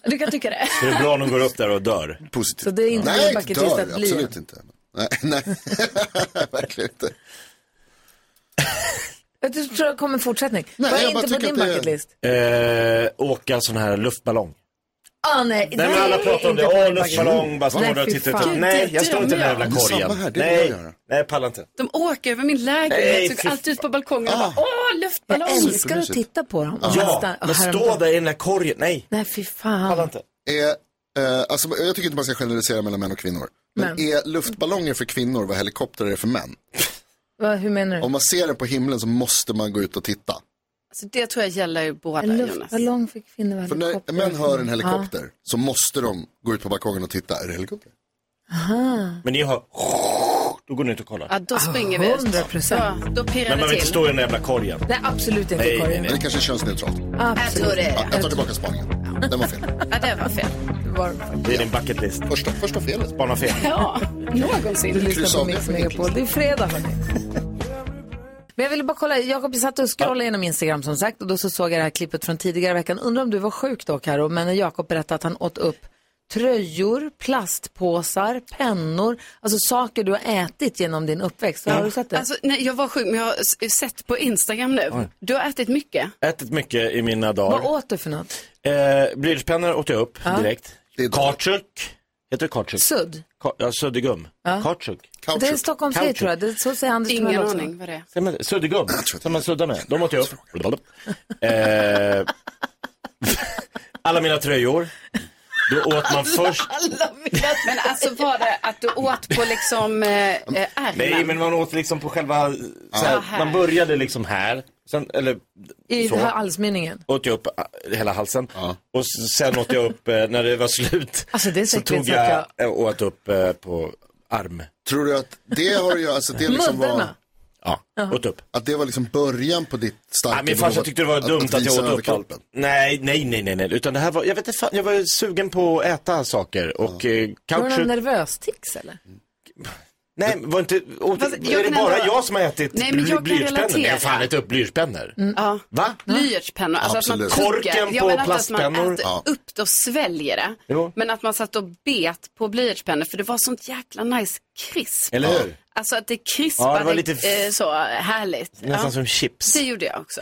S4: Du kan tycka det.
S3: Så det är bra om de går upp där och dör.
S2: Positivt.
S5: Så det är inte
S2: nej,
S5: en bucket
S2: dör,
S5: list att bli.
S2: absolut inte. Nej, nej. verkligen inte.
S5: Jag tror det kommer en fortsättning.
S2: Nej,
S5: Vad
S2: jag
S5: är
S2: bara
S5: inte på
S2: tycker
S5: din
S2: att det är-
S5: bucket list?
S3: Eh, åka sån här luftballong.
S5: Ah, nej.
S3: Nej men alla pratar om det, åh luftballong, bara står
S5: Nej,
S3: där och
S5: fy
S3: tittar
S5: fan.
S3: ut. Nej, jag står inte i den här
S4: Det
S3: jävla
S4: är samma
S3: korgen.
S4: här, det vill jag
S3: Nej,
S4: göra.
S3: nej pallar inte.
S4: De åker över min lägenhet,
S3: Nej,
S4: såg
S3: fy
S4: alltid ut på balkongen och
S3: Ah.
S4: bara, åh, luftballong.
S5: Jag älskar att titta på dem.
S3: Ja, men stå där i den där korgen, nej.
S5: Nej, fy fan.
S2: Är, eh, alltså, jag tycker inte man ska generalisera mellan män och kvinnor. Men,
S5: Men.
S2: är luftballonger för kvinnor vad helikoptrar är för män?
S5: Vad- hur menar du?
S2: Om man ser den på himlen så måste man gå ut och titta.
S4: Alltså, det tror jag gäller ju båda,
S5: En
S4: Jonas.
S5: luftballong för kvinnor och
S2: För när
S5: helikopter.
S2: män hör en helikopter så måste de gå ut på balkongen och titta. Är det helikopter?
S5: Ja. Aha.
S3: Men ni har, då går ni ut och kollar.
S4: Ja,
S5: Ah,
S4: då springer vi ut.
S5: 100%.
S4: Ja, då
S3: Men
S4: pirrar
S3: man
S4: det
S3: vill inte stå i
S4: till.
S3: den där jävla korgen.
S5: Nej, absolut inte
S3: Nej, nej,
S5: Karin.
S3: nej.
S2: Men det kanske är könsneutralt.
S4: Jag tror det är
S2: Ja,
S4: det.
S2: jag tar tillbaka spaningen. Den var fel.
S4: Ja, det var fel.
S3: Det är din bucket list.
S2: Första, första felet.
S3: Spana fel.
S4: Ja, någonsin.
S5: Du lyssnar på Mix Megapol. Det är fredag hörni. Men jag ville bara kolla, Jakob jag satt och scrollade genom Instagram som sagt och då så såg jag det här klippet från tidigare veckan. Undrar om du var sjuk då Karo, men när Jakob berättade att han åt upp tröjor, plastpåsar, pennor, alltså saker du har ätit genom din uppväxt. Har du sett det?
S4: Alltså, nej, jag var sjuk, men jag har s- sett på Instagram nu.
S3: Oj.
S4: Du har ätit mycket.
S3: Ätit mycket i mina dagar.
S5: Vad åt du för något?
S3: Eh, Blyertspennor åt jag upp
S5: Ja.
S3: direkt. Kautschuk. Heter det kautschuk?
S5: Sudd.
S3: Ka- ja, suddgum.
S5: Ja.
S3: Kautschuk.
S5: Det är en Stockholmsgrej tror jag, det, så säger Anders
S4: Ingen
S5: Timell också.
S4: aning vad det är.
S3: Säger man det? Suddgum, som man suddar med. De åt jag upp. eh, alla mina tröjor. Då åt man först.
S4: Men alltså var det att du åt på liksom eh, eh, ärmen?
S3: Nej, men man åt liksom på själva... Så
S4: Ja,
S3: här,
S4: här.
S3: man började liksom här. Sen, eller
S5: I
S3: så.
S5: halsmynningen.
S3: åt jag upp äh, hela halsen. Och s- sen åt jag upp, eh, när det var slut,
S5: Alltså, det är
S3: så
S5: säkert
S3: tog
S5: så att
S3: jag eh, och åt upp eh, på arm.
S2: Tror du att det har ju, alltså det liksom var...
S5: Muddarna.
S3: Ja, åt upp.
S2: Att det var liksom början på ditt starka
S3: Nej, min
S2: behov
S3: farsa tyckte det var dumt att,
S2: visa
S3: jag åt upp allt.
S2: överkroppen.
S3: Nej, nej, nej, nej, nej. Utan det här var, jag vet inte fan, jag var sugen på att äta saker och eh,
S5: Var det någon
S3: couch...
S5: nervös tics eller?
S3: Nej, var inte... Och,
S4: Fast jag
S3: är det
S4: kan
S3: bara
S4: ändå-
S3: jag som har ätit
S4: Nej, men jag kan
S3: blyertspennor? Nej, jag har
S4: relatera. Mm.
S3: fan ätit upp blyertspennor.
S4: Ja.
S3: Va?
S4: Blyertspennor, alltså att man
S3: Absolut.
S4: tuggar.
S3: Korken
S4: Jag
S3: på
S4: menar inte att
S3: plastpennor.
S4: man äter
S3: Ja.
S4: upp det och sväljer det.
S3: Jo.
S4: Men att man satt och bet på blyertspennor för det var sånt jäkla nice krisp.
S3: Eller hur?
S4: Alltså att det krispade
S3: Ja, det var lite-
S4: eh, så härligt.
S3: Nästan som chips.
S4: Det gjorde jag också.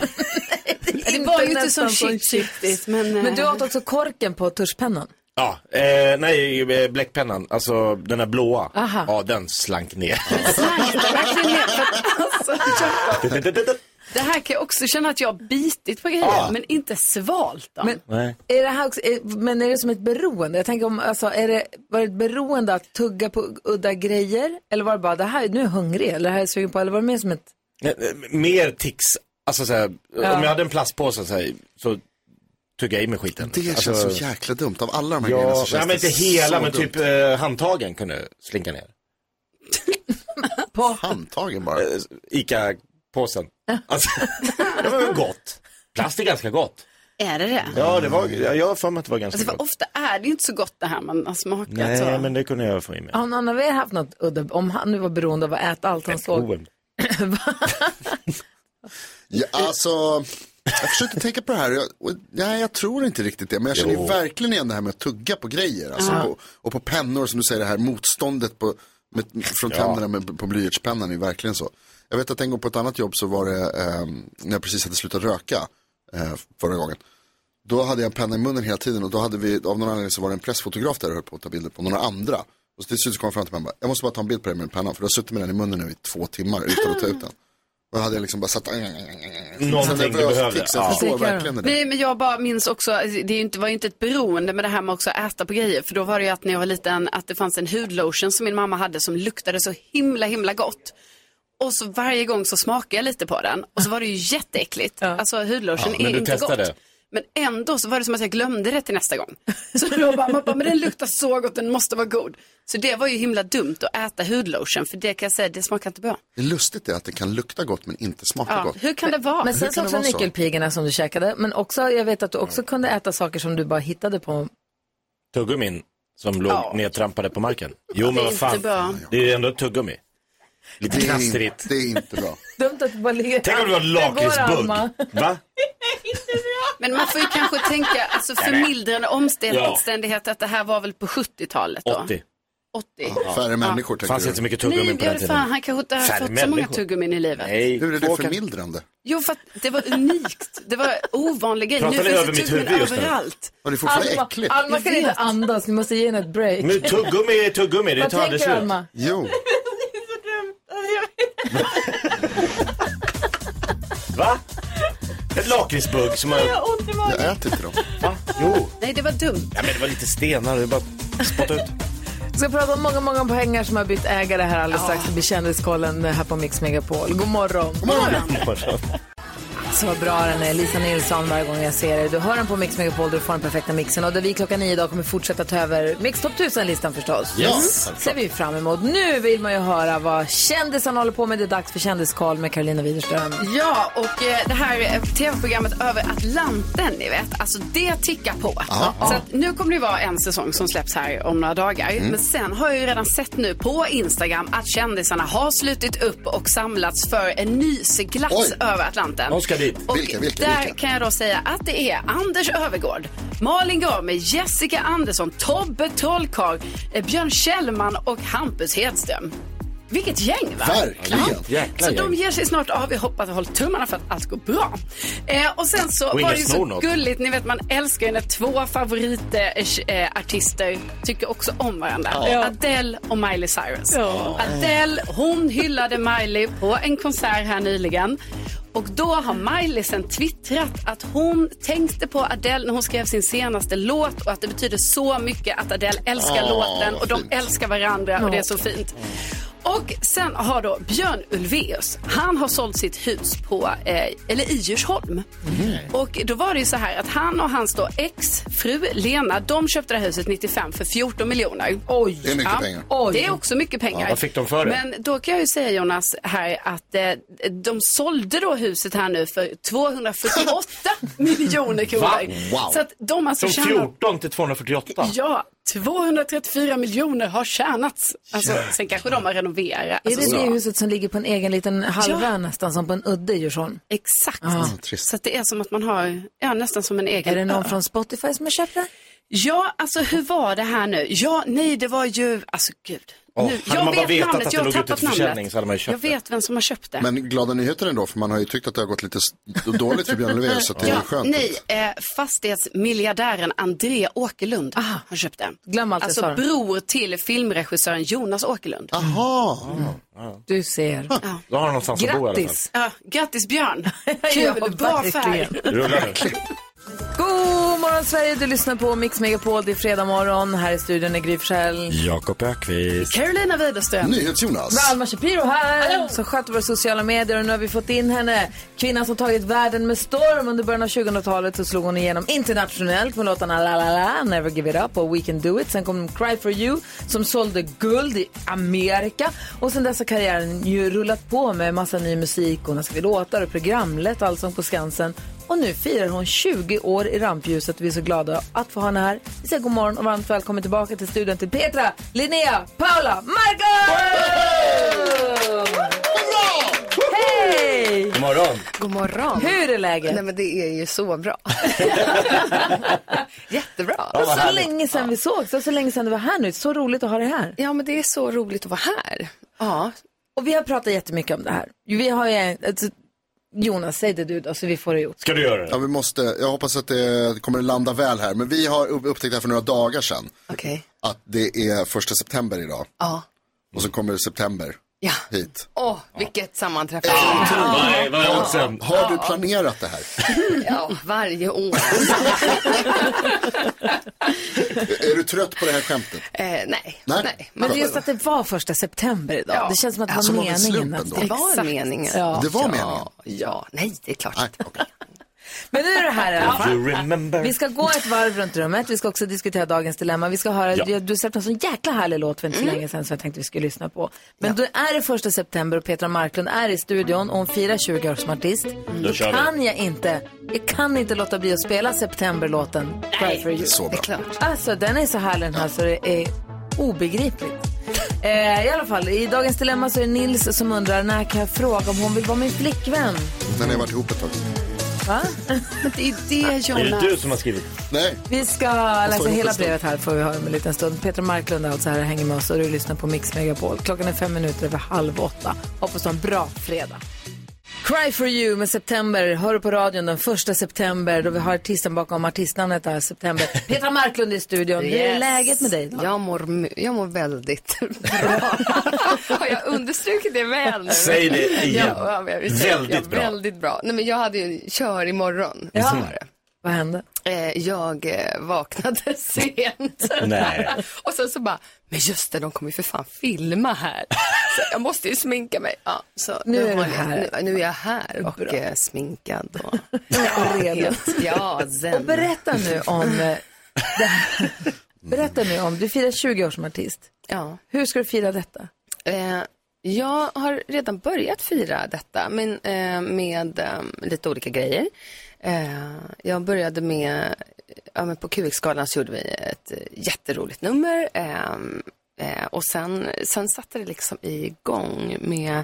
S4: det var ju inte som
S5: nästan som
S4: chips riktigt. Men, eh,
S5: Men du åt också korken på tuschpennan.
S3: Ja, eh, nej, eh, bläckpennan, alltså den här blåa.
S5: Aha.
S3: Ja, den slank ner.
S4: verkligen ner, för att- alltså, jag- det här kan jag också känna att jag har bitit på grejer,
S3: Ja.
S4: men inte svalt dem.
S5: Men-
S3: nej.
S5: Är det här också, är, men är det som ett beroende? Jag tänker om, alltså, är det, var det ett beroende att tugga på udda grejer? Eller var det bara, det här, nu är jag hungrig, eller det här är jag sugen på, eller var det mer som ett...
S3: Eh, eh, Mer tics. Alltså så här,
S5: Ja.
S3: om jag hade en plastpåse så, här, så tuggar jag i mig skiten.
S2: Det känns
S3: alltså,
S2: så jäkla dumt. Av alla de här grejerna så
S3: Ja,
S2: känns
S3: nej, men inte
S2: det
S3: hela,
S2: så
S3: men
S2: dumt.
S3: typ eh, handtagen kunde slinka ner.
S2: Handtagen bara?
S3: Eh, Ica-påsen. Alltså, det var ju gott. Plast är ganska gott.
S4: Är det det?
S3: Ja, det var, jag jag har för mig att det var ganska
S4: Alltså, för
S3: gott.
S4: ofta är det ju inte så gott det här alltså, man har smakat.
S3: Nej,
S4: så.
S3: men det kunde jag få i mig.
S5: Har någon av er haft något udda, om han nu var beroende av att äta allt han såg?
S3: Oen.
S2: Ja, alltså, jag försökte tänka på det här. Jag, och, nej, jag tror inte riktigt det. Men jag känner ju
S3: Jo.
S2: verkligen igen det här med att tugga på grejer. Alltså,
S3: Ja.
S2: på, och på pennor, som du säger, det här motståndet på, med, från
S3: Ja.
S2: tänderna med, på blyertspennan är ju verkligen så. Jag vet att en gång på ett annat jobb så var det, ehm, när jag precis hade slutat röka eh, förra gången. Då hade jag en penna i munnen hela tiden och då hade vi, av någon anledning så var det en pressfotograf där och höll på att ta bilder på några andra. Och så till slut så kom jag fram till mig och bara, jag måste bara ta en bild på dig med en penna för du har suttit med den i munnen nu i två timmar utan att ta ut den. Och då hade jag liksom bara satt,
S3: Någonting du behövde.
S2: Tics, jag
S3: Ja.
S2: förstår verkligen det.
S4: Nej, men jag bara minns också, det är ju inte, var ju inte ett beroende med det här med också att äta på grejer. För då var det ju att när jag var liten, att det fanns en hudlotion som min mamma hade som luktade så himla, himla gott. Och så varje gång så smakade jag lite på den och så var det ju jätteäckligt. Alltså hudlotion
S3: Ja, men
S4: är
S3: du
S4: inte
S3: testade.
S4: gott. Men ändå så var det som att jag glömde det till nästa gång. Så då bara, man bara, men den luktar så gott, den måste vara god. Så det var ju himla dumt att äta hudlotion, för det kan jag säga, det smakar inte bra.
S2: Det är lustigt det att det kan lukta gott men inte smaka
S4: Ja,
S2: gott.
S4: hur kan det vara?
S5: Men sen
S2: Hur
S5: så
S2: kan det
S5: också
S2: vara så?
S5: nyckelpigorna som du käkade, men också, jag vet att du också kunde äta saker som du bara hittade på.
S3: Tuggummin som låg nedtrampade på marken. Jo, men
S5: Det är
S3: vad fan.
S5: inte bra.
S3: Det är ju ändå ett tuggummi. Lite
S2: Det är in-
S3: knastrigt.
S2: Det är inte bra.
S5: Dumt att du bara ligger...
S3: Tänk om det var en
S5: Det går,
S3: lakritsbugg.
S5: Alma.
S3: Va?
S4: Men man får ju kanske tänka, alltså förmildrande omständigheter, att det här var väl på 70-talet då?
S3: 80.
S4: 80.
S2: Färre människor
S3: tänker Fanns
S2: du?
S3: inte så mycket
S4: Nej,
S3: tuggummin på den
S4: gud,
S3: tiden.
S4: fan, han kanske inte har
S3: Färre
S4: fått så många
S3: människor.
S4: tuggummin i livet.
S3: Nej,
S2: Hur är det
S3: två
S2: förmildrande?
S4: Jo, för att det var unikt. Det var ovanlig grej. Nu
S2: Pratar ni
S4: finns
S2: över
S4: det
S2: mitt
S4: tuggummin
S2: huvud just nu?
S4: överallt.
S2: Var det fortfarande
S5: Alma,
S2: äckligt?
S5: Alma kan
S4: Jag
S5: inte
S4: vet.
S5: andas, ni måste ge henne ett break.
S3: Men tuggummi är tuggummi, det
S5: Vad
S3: tar aldrig
S5: tänker
S3: slut.
S5: Alma?
S2: Jo.
S3: Va? Ett lakritsbugg som har...
S4: Jag har ont i magen. Jag
S2: äter inte dem.
S3: Va? Jo.
S4: Nej, det var dumt.
S3: Ja, men det var lite stenar, det bara spotta ut.
S5: Vi ska prata om många, många pengar som har bytt ägare här alldeles strax. Det blir kändiskollen här på Mix Megapol. God morgon. God Så bra den är. Lisa Nilsson varje gång jag ser dig. Du hör den på Mix Megapol, du får den perfekta mixen. Och där vi klockan nio idag kommer fortsätta ta över Mix Top 1000-listan förstås.
S14: Ja,
S5: Mm.
S14: självklart.
S5: ser vi fram emot. Nu vill man ju höra vad kändisarna håller på med. Det är dags för Kändiskoll med Carolina Widerström.
S4: Ja, och eh, det här eh, tv-programmet Över Atlanten, ni vet, alltså det tickar på. Så att nu kommer det vara en säsong som släpps här om några dagar.
S14: Mm.
S4: Men sen har jag ju redan sett nu på Instagram att kändisarna har slutit upp och samlats för en ny seglats
S14: Oj.
S4: över Atlanten.
S14: De ska dit.
S4: Och
S14: Vilka, vilka,
S4: där
S14: vilka?
S4: kan jag då säga att det är Anders Övergård, Malin Gramer, Jessica Andersson, Tobbe Trollkarl, eh, Björn Kjellman och Hampus Hedström. Vilket gäng va? Ja. Så de ger sig snart av. Vi hoppas och håller tummarna för att allt går bra. Eh, och sen så
S14: Och
S4: var
S14: ingen
S4: det ju så
S14: snor något.
S4: gulligt. Ni vet, man älskar ju när två favoritartister eh, artister tycker också om varandra.
S14: Ja.
S4: Adele och Miley Cyrus.
S14: Ja.
S4: Adele, hon hyllade Miley på en konsert här nyligen. Och då har Miley sen twittrat att hon tänkte på Adele när hon skrev sin senaste låt och att det betyder så mycket att Adele älskar
S14: Åh,
S4: låten och de
S14: fint.
S4: älskar varandra och det är så fint. Och sen har då Björn Ulvaeus, han har sålt sitt hus på, eh, eller i Djursholm. Och då var det ju så här att han och hans då ex-fru Lena, de köpte det här huset 95 för 14 miljoner. Oj!
S3: Det är mycket pengar.
S4: Oj. Det är också mycket pengar.
S3: Ja, vad fick de för det?
S4: Men då kan jag ju säga Jonas här att eh, de sålde då huset här nu för 248 miljoner kronor.
S3: Va? Wow.
S4: Så att de alltså
S3: Från
S4: tjänar
S3: 14 till 248.
S4: Ja, 234 miljoner har tjänats. Alltså, sen kanske de har renoverat.
S5: Är det
S4: alltså,
S5: det
S4: så.
S5: huset som ligger på en egen liten halvö nästan, som på en udde i Djursholm?
S4: Exakt.
S5: Ja.
S2: Mm,
S4: Så att det är som att man har, ja nästan som en egen
S5: Är det någon
S4: ö.
S5: från Spotify som har köpt det?
S4: Ja, alltså hur var det här nu? Ja, nej, det var ju, alltså gud.
S2: Åh,
S4: nu,
S2: hade man bara vetat att det
S4: jag har
S2: låg ute
S4: tappat
S2: till försäljning
S4: namnet.
S2: så hade man ju köpt
S4: jag vet vem som har köpt det.
S2: Men glada nyheter ändå, för man har ju tyckt att det har gått lite s- dåligt för Björn Ulvaeus, så att det är
S4: ja,
S2: skönt.
S4: Nej, eh, fastighetsmiljardären André Åkerlund har köpt den.
S5: Glöm allt jag
S4: alltså
S5: sa.
S4: bror till filmregissören Jonas Åkerlund.
S2: Jaha.
S5: Du ser.
S3: Då har han någonstans att bo i alla fall.
S4: Grattis! Ja, grattis Björn!
S5: Ja,
S4: Kul, bra färg!
S5: verkligen.
S3: Rullar nu.
S5: God morgon Sverige, du lyssnar på Mix Megapol. Det är fredag morgon. Här i studion är Gry Forssell.
S3: Jakob Ökvist.
S4: Carolina Widerström.
S5: Med Alma Shapiro här, som sköter våra sociala medier. Och nu har vi fått in henne. Kvinnan som tagit världen med storm under början av 2000-talet. Så slog hon igenom internationellt med låtarna La La La, Never Give It Up och We Can Do It. Sen kom Cry For You som sålde guld i Amerika. Och sen dess har karriären ju rullat på med massa ny musik. Hon har skrivit låtar och programlet Allsång på Skansen. Och nu firar hon 20 år i rampljuset. Vi är så glada att få ha henne här. Vi säger god morgon och varmt välkommen tillbaka till studion till Petra, Linnea, Paula, Marcus! Hej!
S3: God morgon.
S14: God morgon.
S5: Hur är läget?
S14: Nej men det är ju så bra. Jättebra.
S5: Det var så länge sedan vi sågs och så länge sedan du var här nu. Så roligt att ha dig här.
S14: Ja men det är så roligt att vara här.
S5: Ja. Och vi har pratat jättemycket om det här. Vi har ju, en- alltså, Jonas, säg det du då så vi får det gjort.
S3: Ska du göra det?
S2: Ja, vi måste. Jag hoppas att det kommer att landa väl här. Men vi har upp- upptäckt det här för några dagar sedan.
S14: Okej.
S2: Att det är första september idag.
S14: Ja.
S2: Och så kommer september
S14: Ja.
S2: hit.
S14: Åh, vilket sammanträffande.
S3: Nej, vad
S2: Ja.
S3: oddsen.
S2: Har du planerat det här?
S14: Ja, varje år. Eh,
S2: är du trött på det här skämtet?
S14: Eh, nej.
S2: Nej.
S5: Men det är just att det var första september idag. Det känns som att det var
S14: Som av en
S5: meningen.
S14: slump
S5: Att
S14: ändå. Det var meningen.
S5: Ja.
S14: Det var
S5: Ja.
S14: meningen. Ja, nej, det är klart.
S5: Men nu är det här i alla fall.
S14: You remember.
S5: Vi ska gå ett varv runt rummet. Vi ska också diskutera dagens dilemma. Vi ska höra,
S14: Ja. Mm.
S5: du, du släppte en sån jäkla härlig låt för inte så länge sedan som jag tänkte vi skulle lyssna på. Men då är det första september och Petra Marklund är i studion och hon firar 20 år som artist. Då,
S14: kör vi.
S5: kan jag inte, jag kan inte låta bli att spela septemberlåten Cry for you.
S14: så bra. Det är klart.
S5: Alltså den är så härlig den här så det är obegripligt. Eh, I alla fall, i dagens dilemma så är det Nils som undrar när kan jag fråga om hon vill vara min flickvän?
S2: Den har varit ihop ett tag.
S5: Va?
S4: Det är det,
S3: Är det du som har skrivit?
S2: Nej.
S5: Vi ska läsa hela brevet här får vi höra om en liten stund. Peter Marklund är alltså här och hänger med oss och du lyssnar på Mix Megapol. Klockan är fem minuter över halv åtta. Hoppas du har en bra fredag. Cry for you med September. Hör du på radion den första september då vi har artisten bakom artistnamnet där, September. Petra Marklund i studion. Hur är
S14: Yes.
S5: läget med dig? Då?
S14: Jag mår, my- jag mår väldigt bra. Har jag understrukit det väl nu?
S3: Säg det igen.
S14: Ja, jag vill säga att jag
S3: Väldigt bra.
S14: är Väldigt bra. Nej, men jag hade ju en kör imorgon.
S3: Ja. Mm.
S14: Så var det.
S5: Vad hände?
S14: Eh, Jag eh, vaknade sent.
S3: Nej.
S14: Och sen så bara, men just det, de kommer ju för fan filma här. Så jag måste ju sminka mig. Ja, så
S5: Nu är
S14: har
S5: du
S14: ni-
S5: här.
S14: Nu, nu är jag här och
S5: Bra.
S14: eh, sminkad. Och,
S5: redo.
S14: Ja, zen.
S5: Och berätta nu om... eh, Det här. Berätta nu om, du firar 20 år som artist.
S14: Ja.
S5: Hur ska du fira detta?
S14: Eh, jag har redan börjat fira detta men, eh, med eh, lite olika grejer. Eh, jag började med, ja, men på QX-galan så gjorde vi ett eh, jätteroligt nummer eh, eh, och sen, sen satte det liksom igång med,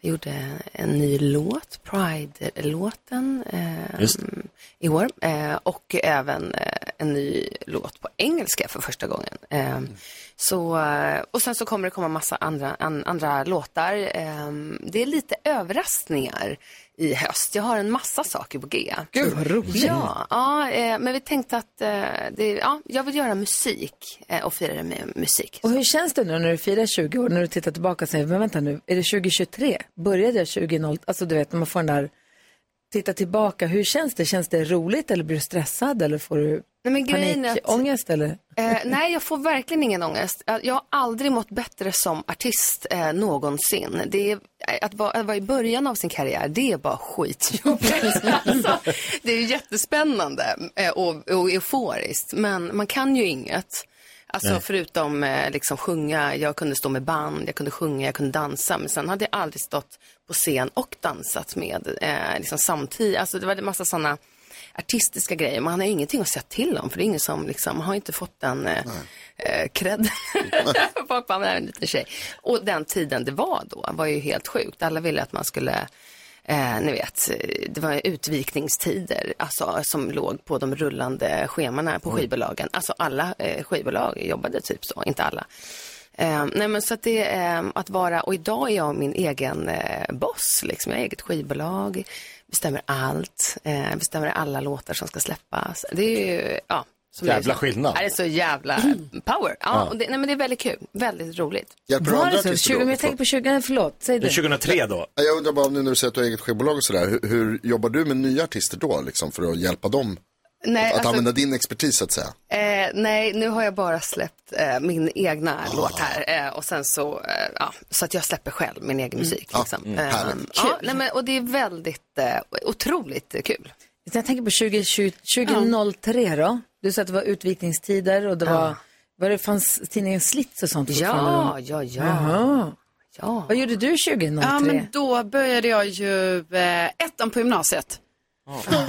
S14: jag gjorde en ny låt, Pride-låten eh,
S3: Just.
S14: i år eh, och även eh, en ny låt på engelska för första gången. Eh, så, eh, och sen så kommer det komma massa andra, an, andra låtar. Eh, det är lite överraskningar i höst. Jag har en massa saker på G.
S5: Gud, vad roligt.
S14: Ja, ja eh, men vi tänkte att eh, det, ja, jag vill göra musik eh, och fira det med musik.
S5: Och hur känns det nu när du firar 20 år, när du tittar tillbaka och säger, men vänta nu, är det 2023? Började jag 20 Alltså du vet, när man får den där, titta tillbaka, hur känns det? Känns det roligt eller blir du stressad eller får du
S14: Nej, men grejen är att-
S5: panikångest eller?
S14: Eh, nej, jag får verkligen ingen ångest. Eh, Jag har aldrig mått bättre som artist eh, någonsin. Det är, eh, att, vara, att vara i början av sin karriär, det är bara skitjobbigt. alltså, det är jättespännande eh, och, och euforiskt, men man kan ju inget. Alltså
S16: Nej.
S14: förutom eh, liksom sjunga, jag kunde stå med band, jag kunde sjunga, jag kunde dansa. Men sen hade jag aldrig stått på scen och dansat med eh, liksom samtidigt. Alltså det var en massa sådana artistiska grejer. Man har ju ingenting att säga till om för det är ingen som liksom, man har ju inte fått den eh, eh, cred. Folk bara, "Men det här är en liten tjej. Och den tiden det var då var ju helt sjukt. Alla ville att man skulle Eh, ni vet, eh, det var utvikningstider alltså, som låg på de rullande schemana på skivbolagen. Alltså alla eh, skivbolag jobbade typ så, inte alla. Eh, nej men så att det är eh, att vara, och idag är jag min egen eh, boss liksom. Jag har eget skivbolag, bestämmer allt, eh, bestämmer alla låtar som ska släppas. Det är ju, ja.
S3: Jävla
S14: jag sa.
S3: skillnad.
S14: Ja, Det är så jävla power. Ja,
S3: Ja.
S14: Och det, nej men det är väldigt kul, väldigt roligt.
S2: Hjälper
S5: Var
S2: andra
S5: det så?
S2: artister
S5: 20,
S2: då?
S5: men jag tänker på 20, förlåt, säg du.
S3: 2003 då?
S2: Jag undrar bara om nu när du säger att du har eget skivbolag och sådär, hur, hur jobbar du med nya artister då liksom för att hjälpa dem?
S14: Nej,
S2: att
S14: alltså-
S2: använda din expertis så att säga.
S14: Eh, nej, nu har jag bara släppt eh, min egna låt här eh, och sen så, eh, ja, så att jag släpper själv min egen musik. Liksom.
S5: mm,
S14: Eh,
S5: härligt.
S14: ja, nej, men, och det är väldigt, eh, otroligt kul.
S5: Jag tänker på 20, 2003 då, du sa att det var utvikningstider och det var, var det fanns tidningen Slits och sånt fortfarande
S14: Ja,
S5: då?
S14: ja, ja.
S5: Jaha.
S14: ja.
S5: Vad gjorde du 2003?
S4: Ja, men då började jag ju eh, ettan på gymnasiet. Ja.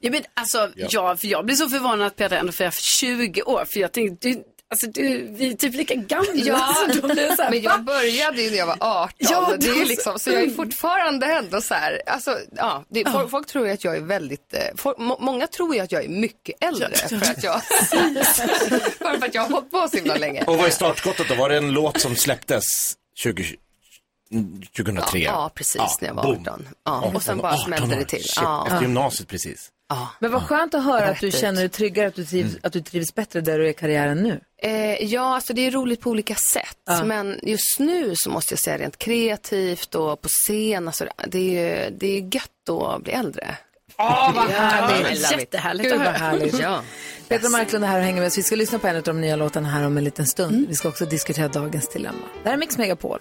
S4: Ja, men alltså,
S5: Ja.
S4: Jag, för jag blir så förvånad att Peter ändå firar 20 år, för jag tänkte, du, alltså, du, vi är typ lika gamla.
S14: Ja,
S4: så då blir det så här,
S14: men
S4: va?
S14: jag började ju när jag var 18.
S4: Ja,
S14: det är
S4: då så- Mm.
S14: liksom, så jag är fortfarande ändå så här, alltså, ja, det,
S4: Ja.
S14: Folk, folk tror ju att jag är väldigt, eh, folk, må, många tror ju att jag är mycket äldre
S4: Ja, ja.
S14: för att jag, bara för att jag har hållit på så himla länge.
S3: Och vad är startskottet då? Var det en låt som släpptes 20, 2003?
S14: Ja, ja, precis, när jag var 18. Ja, och sen bara smällde det till.
S3: Ja.
S14: Ja.
S3: Efter gymnasiet precis.
S5: Men vad skönt att höra
S14: Det var
S5: att du
S14: rätt ut.
S5: känner dig tryggare, att du, trivs, att du trivs bättre där du är i karriären nu.
S14: Eh, ja, alltså det är roligt på olika sätt.
S5: Ja.
S14: Men just nu så måste jag säga rent kreativt och på scen, alltså, det, är, ju- det är gött att bli äldre.
S4: Åh,
S14: Ja,
S4: vad härligt.
S14: I love it.
S4: Jättehärligt
S5: Gud
S4: att
S5: vad
S4: höra. Mm.
S5: härligt.
S14: Ja.
S5: Petra Marklund är här och hänger med oss. Vi ska lyssna på en av de nya låtarna här om en liten stund.
S4: Mm.
S5: Vi ska också diskutera dagens dilemma. Det här är Mix Megapol.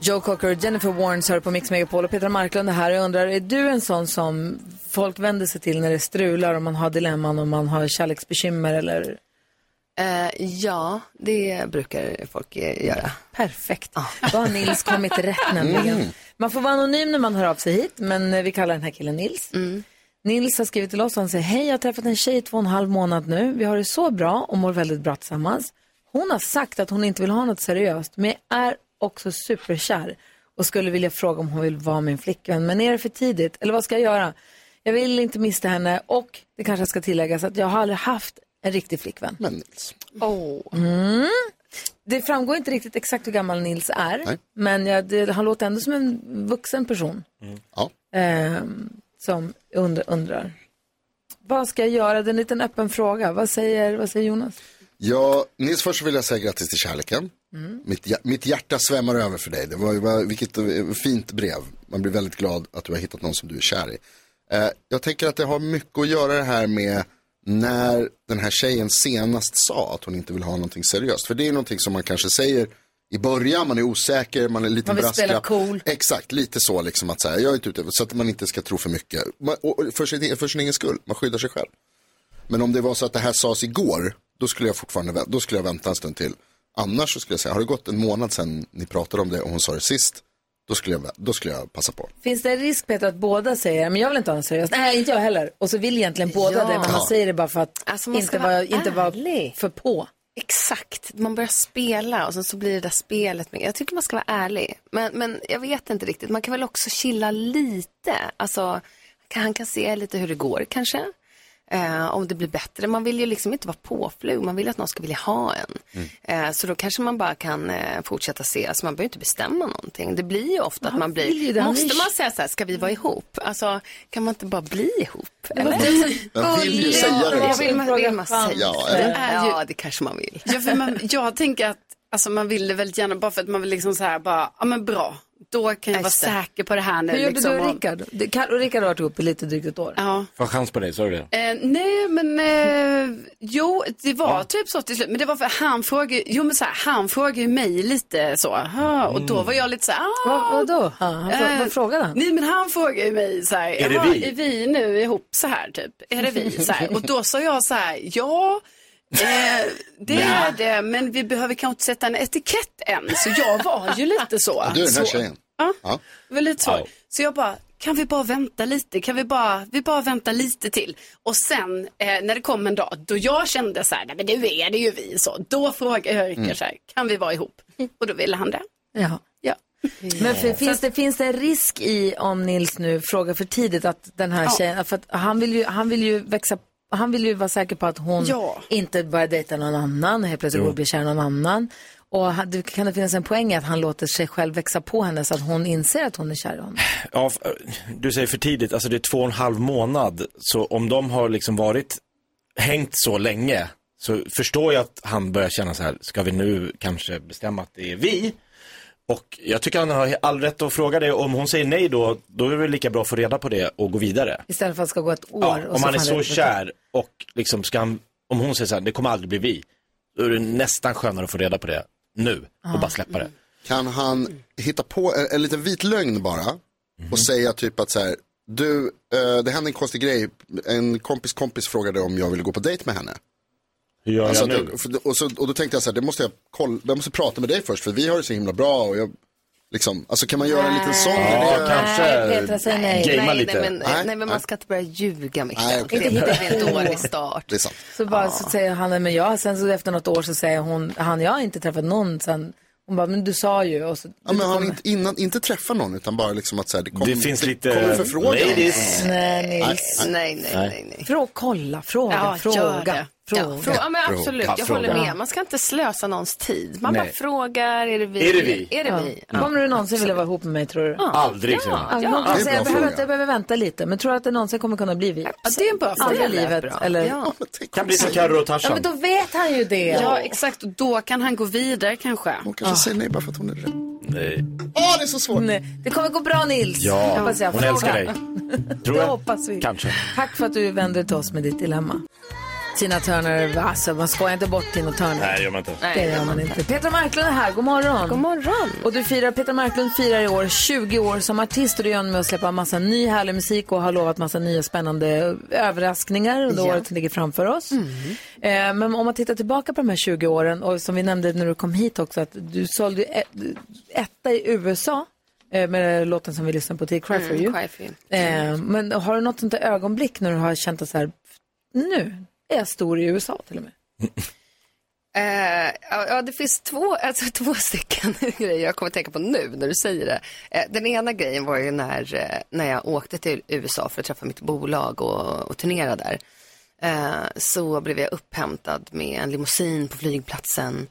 S5: Joe Cocker och Jennifer Warnes hör på Mix Megapol och Petra Marklund är här. Jag undrar, är du en sån som folk vänder sig till när det strular och man har dilemman och man har kärleksbekymmer eller?
S14: Eh, ja, det brukar folk eh, göra.
S5: Perfekt. Ah. Då har Nils kommit rätt nämligen.
S14: Mm.
S5: Man får vara anonym när man hör av sig hit, men eh, vi kallar den här killen Nils. Nils har skrivit till oss och han säger, hej jag har träffat en tjej i två och en halv månad nu. Vi har det så bra och mår väldigt bra tillsammans. Hon har sagt att hon inte vill ha något seriöst, men jag är också superkär och skulle vilja fråga om hon vill vara min flickvän. Men är det för tidigt? Eller vad ska jag göra? Jag vill inte mista henne och det kanske ska tilläggas att jag har aldrig haft en riktig flickvän.
S2: Men Nils.
S5: Mm. Det framgår inte riktigt exakt hur gammal Nils är,
S2: Nej.
S5: men jag, det, han låter ändå som en vuxen person
S2: Ja.
S5: ehm, som und, undrar. Vad ska jag göra? Det är en liten öppen fråga. Vad säger, vad säger Jonas?
S2: Ja, Nils, först så vill jag säga grattis till kärleken.
S5: Mm.
S2: Mitt, hjär- mitt hjärta svämmar över för dig. Det var, var, vilket eh, fint brev. Man blir väldigt glad att du har hittat någon som du är kär i. Eh, jag tänker att det har mycket att göra det här med när den här tjejen senast sa att hon inte vill ha någonting seriöst. För det är någonting som man kanske säger i början, man är osäker, man är lite
S5: Man vill spela cool.
S2: Exakt, lite så liksom att säga, jag är inte ute, så att man inte ska tro för mycket. Man, och, och för, sin, för sin egen skull, man skyddar sig själv. Men om det var så att det här sades igår, då skulle jag fortfarande vä- då skulle jag vänta en stund till. Annars så skulle jag säga, har det gått en månad sedan ni pratade om det och hon sa det sist, då skulle jag, vä- då skulle jag passa på.
S5: Finns det en risk Peter att båda säger men jag vill inte ha en seriös? Nej, inte jag heller. Och så vill egentligen båda
S14: Ja.
S5: det, men man
S2: Ja.
S5: säger det bara för att
S14: Alltså, man
S5: inte
S14: ska
S5: vara
S14: vara
S5: inte vara för på.
S14: Exakt, man börjar spela och sen så blir det där spelet med. Jag tycker man ska vara ärlig, men, men jag vet inte riktigt. Man kan väl också chilla lite. Alltså, kan, han kan se lite hur det går kanske. Eh, om det blir bättre. Man vill ju liksom inte vara påflug, man vill ju att någon ska vilja ha en. Eh, så då kanske man bara kan eh, fortsätta ses, man behöver inte bestämma någonting. Det blir ju ofta att man
S5: vill ju
S14: blir,
S5: det, han vill
S14: måste
S5: ju-
S14: man säga så här, ska vi vara ihop? Alltså, kan man inte bara bli ihop?
S5: Det var
S14: typ
S5: du-
S2: Jag vill ju säga det.
S14: Ja, vill man, vill man säga
S2: Ja,
S14: det?
S2: eller?
S14: Ja, det kanske man vill.
S4: Ja, för man, jag tänker att alltså, man vill det väldigt gärna bara för att man vill liksom så här bara, ja men bra, då kan jag vara
S5: Just det.
S4: säker på det här nu.
S5: Hur gjorde
S4: liksom,
S5: du och Rickard? Du, Karl och Rickard har varit ihop i lite drygt ett år.
S4: Ja.
S3: Får jag chans på dig, sa du det?
S4: Eh, nej men eh, jo det var typ så till slut. Men det var för han frågade, jo men så här, han frågade ju mig lite så. "Aha", Och då var jag lite så här, ah,
S5: Vad, vadå? Han, han, frå-
S4: Eh,
S5: vad frågade han?
S4: Nej men han frågade ju mig så här,
S5: Är det
S4: "Jaha,
S5: vi?"
S4: är vi nu ihop så här typ? Är det vi? Så här. Och då sa jag så här, ja, eh, det är det, men vi behöver kanske inte sätta en etikett än. Så jag var ju lite så.
S2: Du är den här
S4: så,
S2: tjejen.
S4: Ja.
S2: Ja.
S4: det var lite så. Så jag bara, kan vi bara vänta lite? Kan vi bara, vi bara vänta lite till? Och sen eh, när det kom en dag då jag kände så här, nej men nu är det ju vi så. Då frågade jag Rickard
S5: Mm.
S4: så här, kan vi vara ihop? Och då ville han det.
S5: Ja.
S4: Ja.
S5: Men
S3: Eh.
S5: för, finns, det, finns det en risk i om Nils nu frågar för tidigt att den här
S4: Ja.
S5: tjejen, för att han vill ju, han vill ju växa han vill ju vara säker på att hon
S4: Ja.
S5: inte börjar dejta någon annan och helt plötsligt går och blir kär i någon annan. Och han, det- kan det finnas en poäng i att han låter sig själv växa på henne så att hon inser att hon är kär i honom?
S3: Ja, f- eh, du säger för tidigt, alltså det är två och en halv månad. Så om de har liksom varit, hängt så länge, så förstår jag att han börjar känna så här, ska vi nu kanske bestämma att det är vi? Och jag tycker han har all rätt att fråga det. Om hon säger nej då, då är det väl lika bra att få reda på det och gå vidare.
S5: Istället för att det ska gå ett år.
S3: Ja,
S5: och
S3: om han är
S5: får
S3: så
S5: reda på det.
S3: kär och liksom ska han, om hon säger så här, det kommer aldrig bli vi. Då är det nästan skönare att få reda på det nu och bara släppa det.
S2: Kan han hitta på en, en liten vit lögn bara
S3: Mhm.
S2: och säga typ att så här, du, eh, det hände en konstig grej, en kompis kompis frågade om jag ville gå på dejt med henne.
S3: Hur gör
S2: Alltså
S3: jag nu?
S2: att jag- för- och, så, och då tänkte jag så här, det måste jag, koll, jag måste prata med dig först för vi har det så himla bra och jag, liksom, alltså kan man göra en liten sån?
S3: Ja,
S2: idé?
S3: kanske.
S14: Nej,
S3: Petra,
S2: säg nej. Gamea
S14: nej,
S2: lite.
S14: Nej, men,
S2: Nej,
S14: nej, men man ska inte börja ljuga, Michel.
S2: Nej, okej.
S14: Det är- det är en dålig start.
S2: Det är sant.
S5: Så bara så säger han, men jag, sen så efter något år så säger hon, han, jag har inte träffat någon sen. Hon bara, men du sa ju. Och så,
S2: Ja, men har han inte, innan, inte träffa någon utan bara liksom att så här, det, kom,
S3: Det finns lite
S2: kommer förfrågan. Mm.
S3: ladies.
S5: Nej,
S2: Nils.
S14: Nej, nej, nej. nej.
S5: Frå, kolla, fråga,
S14: Ja, gör
S5: fråga,
S14: det.
S5: fråga.
S14: Ja, fråga. Ja, men absolut.
S5: Fråga.
S14: Jag håller
S5: Ja.
S14: med. Man ska inte slösa någons tid. Man
S5: Nej.
S14: bara frågar, är det vi?
S5: Är det vi?
S14: Är det
S5: Ja.
S14: vi?
S5: Kommer du någonsin vilja vara ihop med mig tror du?
S3: Aldrig, säger
S5: Ja,
S3: man.
S5: ja,
S3: Ja,
S5: någon kan
S3: det är
S5: säga,
S3: en
S5: jag,
S3: bra
S5: behöver,
S3: fråga.
S5: jag behöver vänta lite, men tror du att det någonsin kommer kunna bli vi?
S4: Ja, det är en bra
S5: Aldrig i
S4: fråga.
S5: livet,
S4: Bra.
S5: eller?
S4: Ja.
S3: Kan bli som Carro och Tarzan.
S5: Ja, men då vet han ju det.
S4: Ja, exakt. Och då kan han gå vidare kanske.
S2: Hon kanske säger nej bara för att hon är rädd.
S3: Nej.
S2: Åh, det är så svårt.
S5: Ah. Nej, Mm. det kommer gå bra Nils.
S3: Ja,
S5: hoppas jag.
S3: hon
S5: Fråga.
S3: älskar dig. Tror
S5: det
S3: jag.
S5: hoppas vi.
S3: Kanske.
S5: Tack för att du vände dig till oss med ditt dilemma. Tina Turner, alltså man skojar inte bort Tina Turner.
S3: Nej, det gör man inte.
S5: det gör man inte. Petra Marklund är här, god morgon. God
S14: morgon.
S5: Och du firar, Petra Marklund firar i år 20 år som artist och det gör hon med att släppa massa ny härlig musik och har lovat massa nya spännande överraskningar under
S14: Ja. Mm.
S5: året som ligger framför oss. Eh, men om man tittar tillbaka på de här 20 åren och som vi nämnde när du kom hit också att du sålde ju ett, etta i USA eh, med låten som vi lyssnade på till Cry for
S14: Mm,
S5: you.
S14: Cry for you.
S5: Eh, men har du något sånt där ögonblick när du har känt att så här, nu är jag stor i USA till och med?
S14: Eh, ja, ja, det finns två, alltså, två stycken grejer jag kommer att tänka på nu när du säger det. Eh, den ena grejen var ju när, eh, när jag åkte till USA för att träffa mitt bolag och, och turnera där. Eh, så blev jag upphämtad med en limousin på flygplatsen.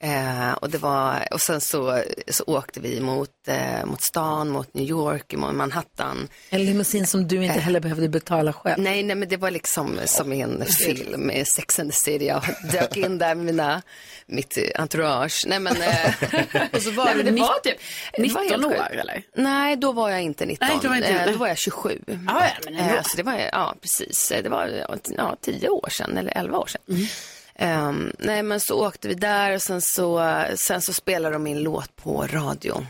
S14: Eh, och, det var, och sen så, så åkte vi mot, eh, mot stan, mot New York, mot Manhattan.
S5: En limousin som du inte
S14: Eh.
S5: heller behövde betala själv.
S14: Nej, nej, men det var liksom som i en film, eh, Sex and the City. Jag dök in där med mina, mitt eh, entourage. Nej, men, eh, och så
S4: var du nitt-
S14: typ
S4: 19 år, eller?
S14: Nej, då var jag inte 19.
S4: Nej, då var inte- Ah,
S14: Eh, då var jag 27.
S4: Ja, ja, men ändå.
S14: Eh, så det var, ja, precis. Eh, Det var ja, 10 år sedan, eller 11 år sedan.
S4: Mm.
S14: Ehm, nej, men så åkte vi där och sen så, sen så spelade de min låt på radio.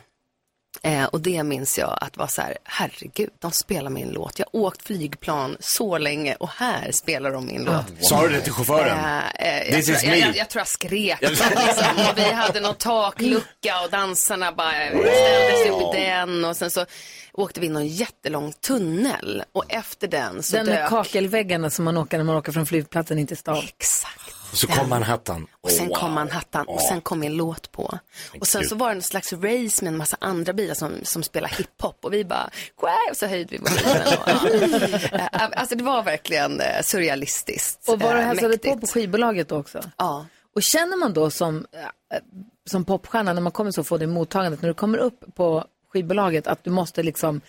S14: Eh, och det minns jag att var så här, herregud, de spelar min låt. Jag har åkt flygplan så länge och här spelar de min låt.
S3: Sa du det till chauffören?
S14: Eh, eh, jag,
S3: This
S14: tror,
S3: is
S14: jag,
S3: me.
S14: jag, jag tror jag skrek. liksom. Och vi hade någon taklucka och dansarna bara ställde sig upp i den. Och sen så åkte vi in i någon jättelång tunnel. Och efter den så
S5: Den med
S14: dök...
S5: kakelväggarna som man åker när man åker från flygplatsen in till stan.
S14: Exakt.
S3: Och så kom Manhattan.
S14: Och sen
S3: Oh, Wow.
S14: kom Manhattan och sen kom min låt på. Och sen så var det en slags race med en massa andra bilar som, som spelar hiphop och vi bara, "Quay!" och så höjde vi volymen. och- Eh, alltså det var verkligen eh, surrealistiskt.
S5: Och var du
S14: eh,
S5: hälsade
S14: mäktigt.
S5: på på skivbolaget då också?
S14: Ja.
S5: Och känner man då som, eh, som popstjärna när man kommer så får det mottagandet, när du kommer upp på skivbolaget, att du måste liksom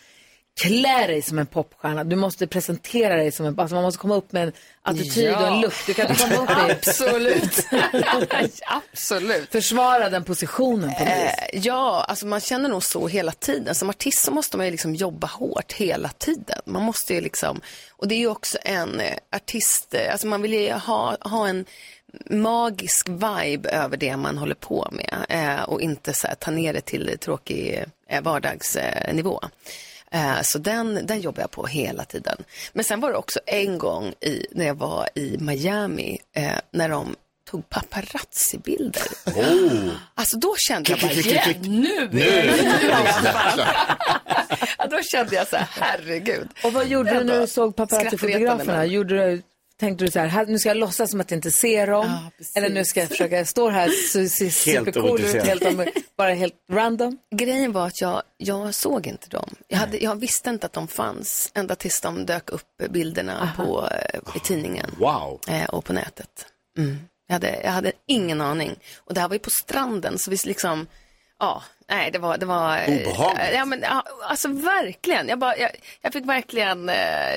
S5: klä dig som en popstjärna, du måste presentera dig som en, alltså man måste komma upp med en attityd och en look, du kan inte komma upp i.
S14: Absolut. Absolut.
S5: Försvara den positionen på något vis.
S14: Eh, ja, alltså man känner nog så hela tiden. Som artist så måste man ju liksom jobba hårt hela tiden. Man måste ju liksom, och det är ju också en eh, artist, eh, alltså man vill ju ha, ha en magisk vibe över det man håller på med eh, och inte så här, ta ner det till tråkig eh, vardagsnivå. Eh, Så den, den jobbar jag på hela tiden. Men sen var det också en gång i, när jag var i Miami eh, när de tog paparazzi-bilder.
S13: Oh.
S14: Alltså då kände jag
S13: Klick,
S14: bara,
S13: klick, klick,
S14: yeah,
S13: klick.
S14: nu!
S13: Nu.
S14: Ja, då kände jag så här, herregud.
S5: Och vad gjorde du när du såg paparazzi-fotograferna?
S14: Skrattretande, men-
S5: Gjorde du, tänkte du så här, här, nu ska jag låtsas som att jag inte ser dem, eller nu ska jag försöka, jag står här, så ser supercool ut,
S14: ointresserad.
S5: helt, om- bara helt random?
S14: Grejen var att jag, jag såg inte dem. Jag, hade, jag visste inte att de fanns ända tills de dök upp bilderna på, eh, i tidningen
S3: wow.
S14: eh, och på nätet. Mm. Jag, hade, jag hade ingen aning. Och det här var ju på stranden, så visst liksom, ja, nej, det var... Det var eh,
S13: Obehagligt.
S14: Ja, men, ja, alltså verkligen. Jag, bara, jag, jag fick verkligen eh,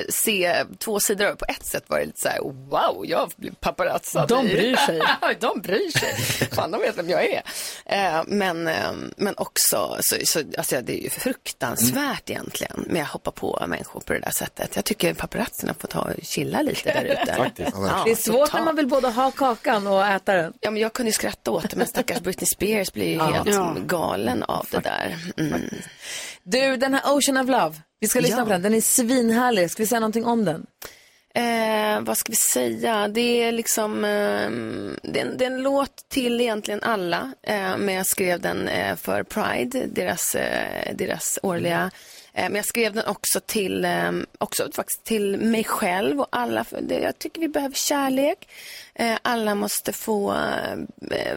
S14: se två sidor av det. På ett sätt var det lite så här, wow, jag blev paparazzad.
S5: De
S14: i-
S5: bryr sig.
S14: de bryr sig. Fan, de vet vem jag är. Eh, men, eh, men också, så, så, alltså, det är ju fruktansvärt egentligen, men jag hoppar på människor på det där sättet. Jag tycker paparazzerna får ta och chilla lite där ute.
S13: Faktiskt.
S14: Ja,
S5: det är svårt
S14: totalt.
S5: när man vill både ha kakan och äta den.
S14: Ja, men jag kunde ju skratta åt det, men stackars Britney Spears blir ju
S5: Ja.
S14: helt
S5: Ja.
S14: galen av det där. Mm.
S5: Du, den här Ocean of Love, vi ska lyssna
S14: Ja.
S5: på den, den är svinhärlig. Ska vi säga någonting om den?
S14: Eh, vad ska vi säga? Det är liksom, eh, det, är en, det är en låt till egentligen alla, eh, men jag skrev den eh, för Pride, deras, eh, deras årliga. Eh, men jag skrev den också till, eh, också faktiskt till mig själv och alla. För det, jag tycker vi behöver kärlek. Eh, alla måste få, eh,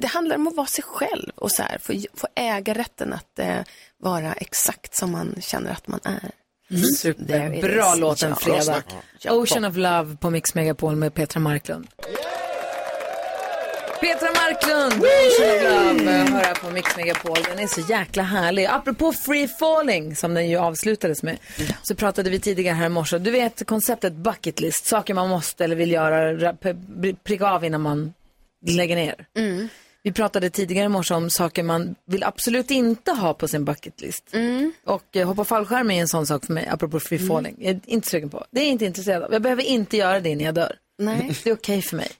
S14: det handlar om att vara sig själv och så här, få, få äga rätten att eh, vara exakt som man känner att man är. There it
S5: Bra
S14: is.
S5: låt Mm. en
S14: Ja.
S5: fredag.
S14: Ja.
S5: Ocean of Love på Mix Megapol med Petra Marklund. Petra Marklund, Ocean of Love, hör här på Mix Megapol. Den är så jäkla härlig. Apropå Free Falling, som den ju avslutades med, så pratade vi tidigare här i morse. Du vet konceptet bucket list, saker man måste eller vill göra, ra- p- pricka av innan man lägger ner. Vi pratade tidigare i morse om saker man vill absolut inte ha på sin bucket list. Och eh, hoppa fallskärm är en sån sak för mig, apropå free falling. Jag är inte sugen på. Det är jag inte intresserad av. Jag behöver inte göra det när jag dör.
S14: Nej.
S5: Det är okej för mig.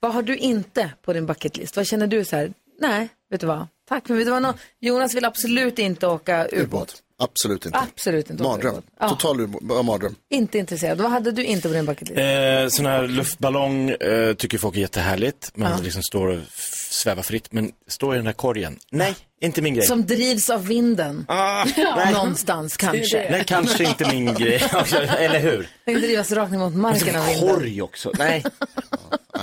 S5: Vad har du inte på din bucket list? Vad känner du så här, nej, vet du vad? Tack, men vet du vad? Nå- Jonas vill absolut inte åka ubåt.
S2: Absolut inte.
S5: Absolut inte åka
S2: Mardröm.
S5: ubåt. Ja.
S2: Total ur- mardröm.
S5: Inte intresserad. Vad hade du inte på din bucket list?
S3: Eh, sån här luftballong eh, tycker folk är jättehärligt. Man
S5: Ja.
S3: liksom står och f- svävar fritt, men står i den här korgen. Nej, inte min grej. Ah,
S5: Som drivs av vinden.
S3: nej.
S5: Någonstans kanske.
S3: Nej, kanske inte min grej. Eller hur?
S5: Den drivs rakt ner mot marken av
S3: En
S5: vinden.
S3: korg också. Nej.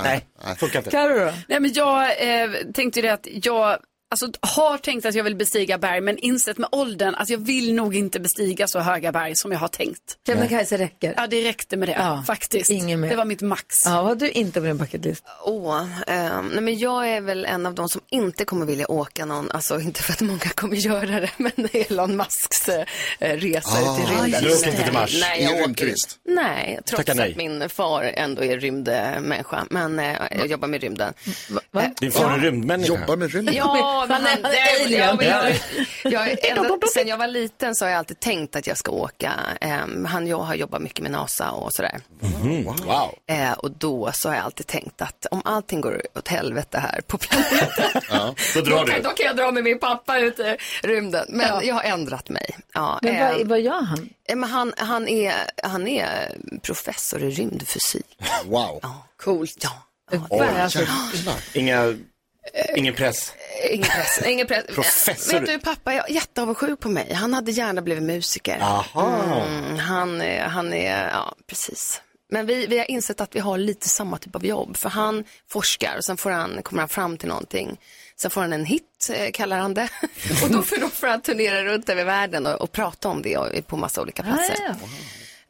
S3: Nej, funkar inte.
S5: Carro då?
S4: Nej, men jag eh, tänkte ju det att jag alltså, har tänkt att jag vill bestiga berg men insett med åldern att jag vill nog inte bestiga så höga berg som jag har tänkt.
S5: Kebnekaise räcker.
S4: Ja, det räckte med det faktiskt.
S5: Ingen mer.
S4: Det var mitt max.
S5: Ja, vad har du inte på din bucket list?
S14: Åh, ehm, nej men jag är väl en av de som inte kommer vilja åka någon, alltså inte för att många kommer göra det, men Elon Musks eh, resa
S2: Ah,
S14: ut i rymden.
S2: du åker inte till Mars.
S14: Nej,
S2: Är
S14: jag
S2: du
S14: åker
S2: rymdturist?
S14: inte. Nej, trots
S2: Tacka nej.
S14: att min far ändå är rymdmänniska, men eh, jag jobbar med rymden. Eh,
S3: Din far är rymdmänniska.
S2: Jobbar med rymden?
S14: Ja, men han, det, ja, men jag, jag,
S5: Dop, dop,
S14: ända,
S5: dop.
S14: sen jag var liten så har jag alltid tänkt att jag ska åka. Ehm, han, jag har jobbat mycket med NASA och sådär.
S3: Mm. Wow.
S14: Eh, och då så har jag alltid tänkt att om allting går åt helvete här på planeten,
S3: Ja. Då
S14: då
S3: drar
S14: kan,
S3: du.
S14: då kan jag dra med min pappa ut i rymden. Men jag har ändrat mig. Ja,
S5: Men
S14: eh,
S5: vad, vad gör han?
S14: eh, men han, han, är, han är professor i rymdfysik.
S2: Wow.
S14: Coolt. Ja.
S3: Oj,
S14: Vad är alltså-
S3: jävlar. Inga, ingen press.
S14: Ingen press. Ingen press.
S3: Professor.
S14: Vet du, pappa är jätteavundsjuk på mig. Han hade gärna blivit musiker.
S3: Aha.
S14: Mm, han, är- han är, ja precis. Men vi, vi har insett att vi har lite samma typ av jobb. För han forskar och sen får han, kommer han fram till någonting. Sen får han en hit, eh, kallar han det. Och då får, då får han turnera runt över världen och, och prata om det och, eh, på massa olika platser.
S5: Ah,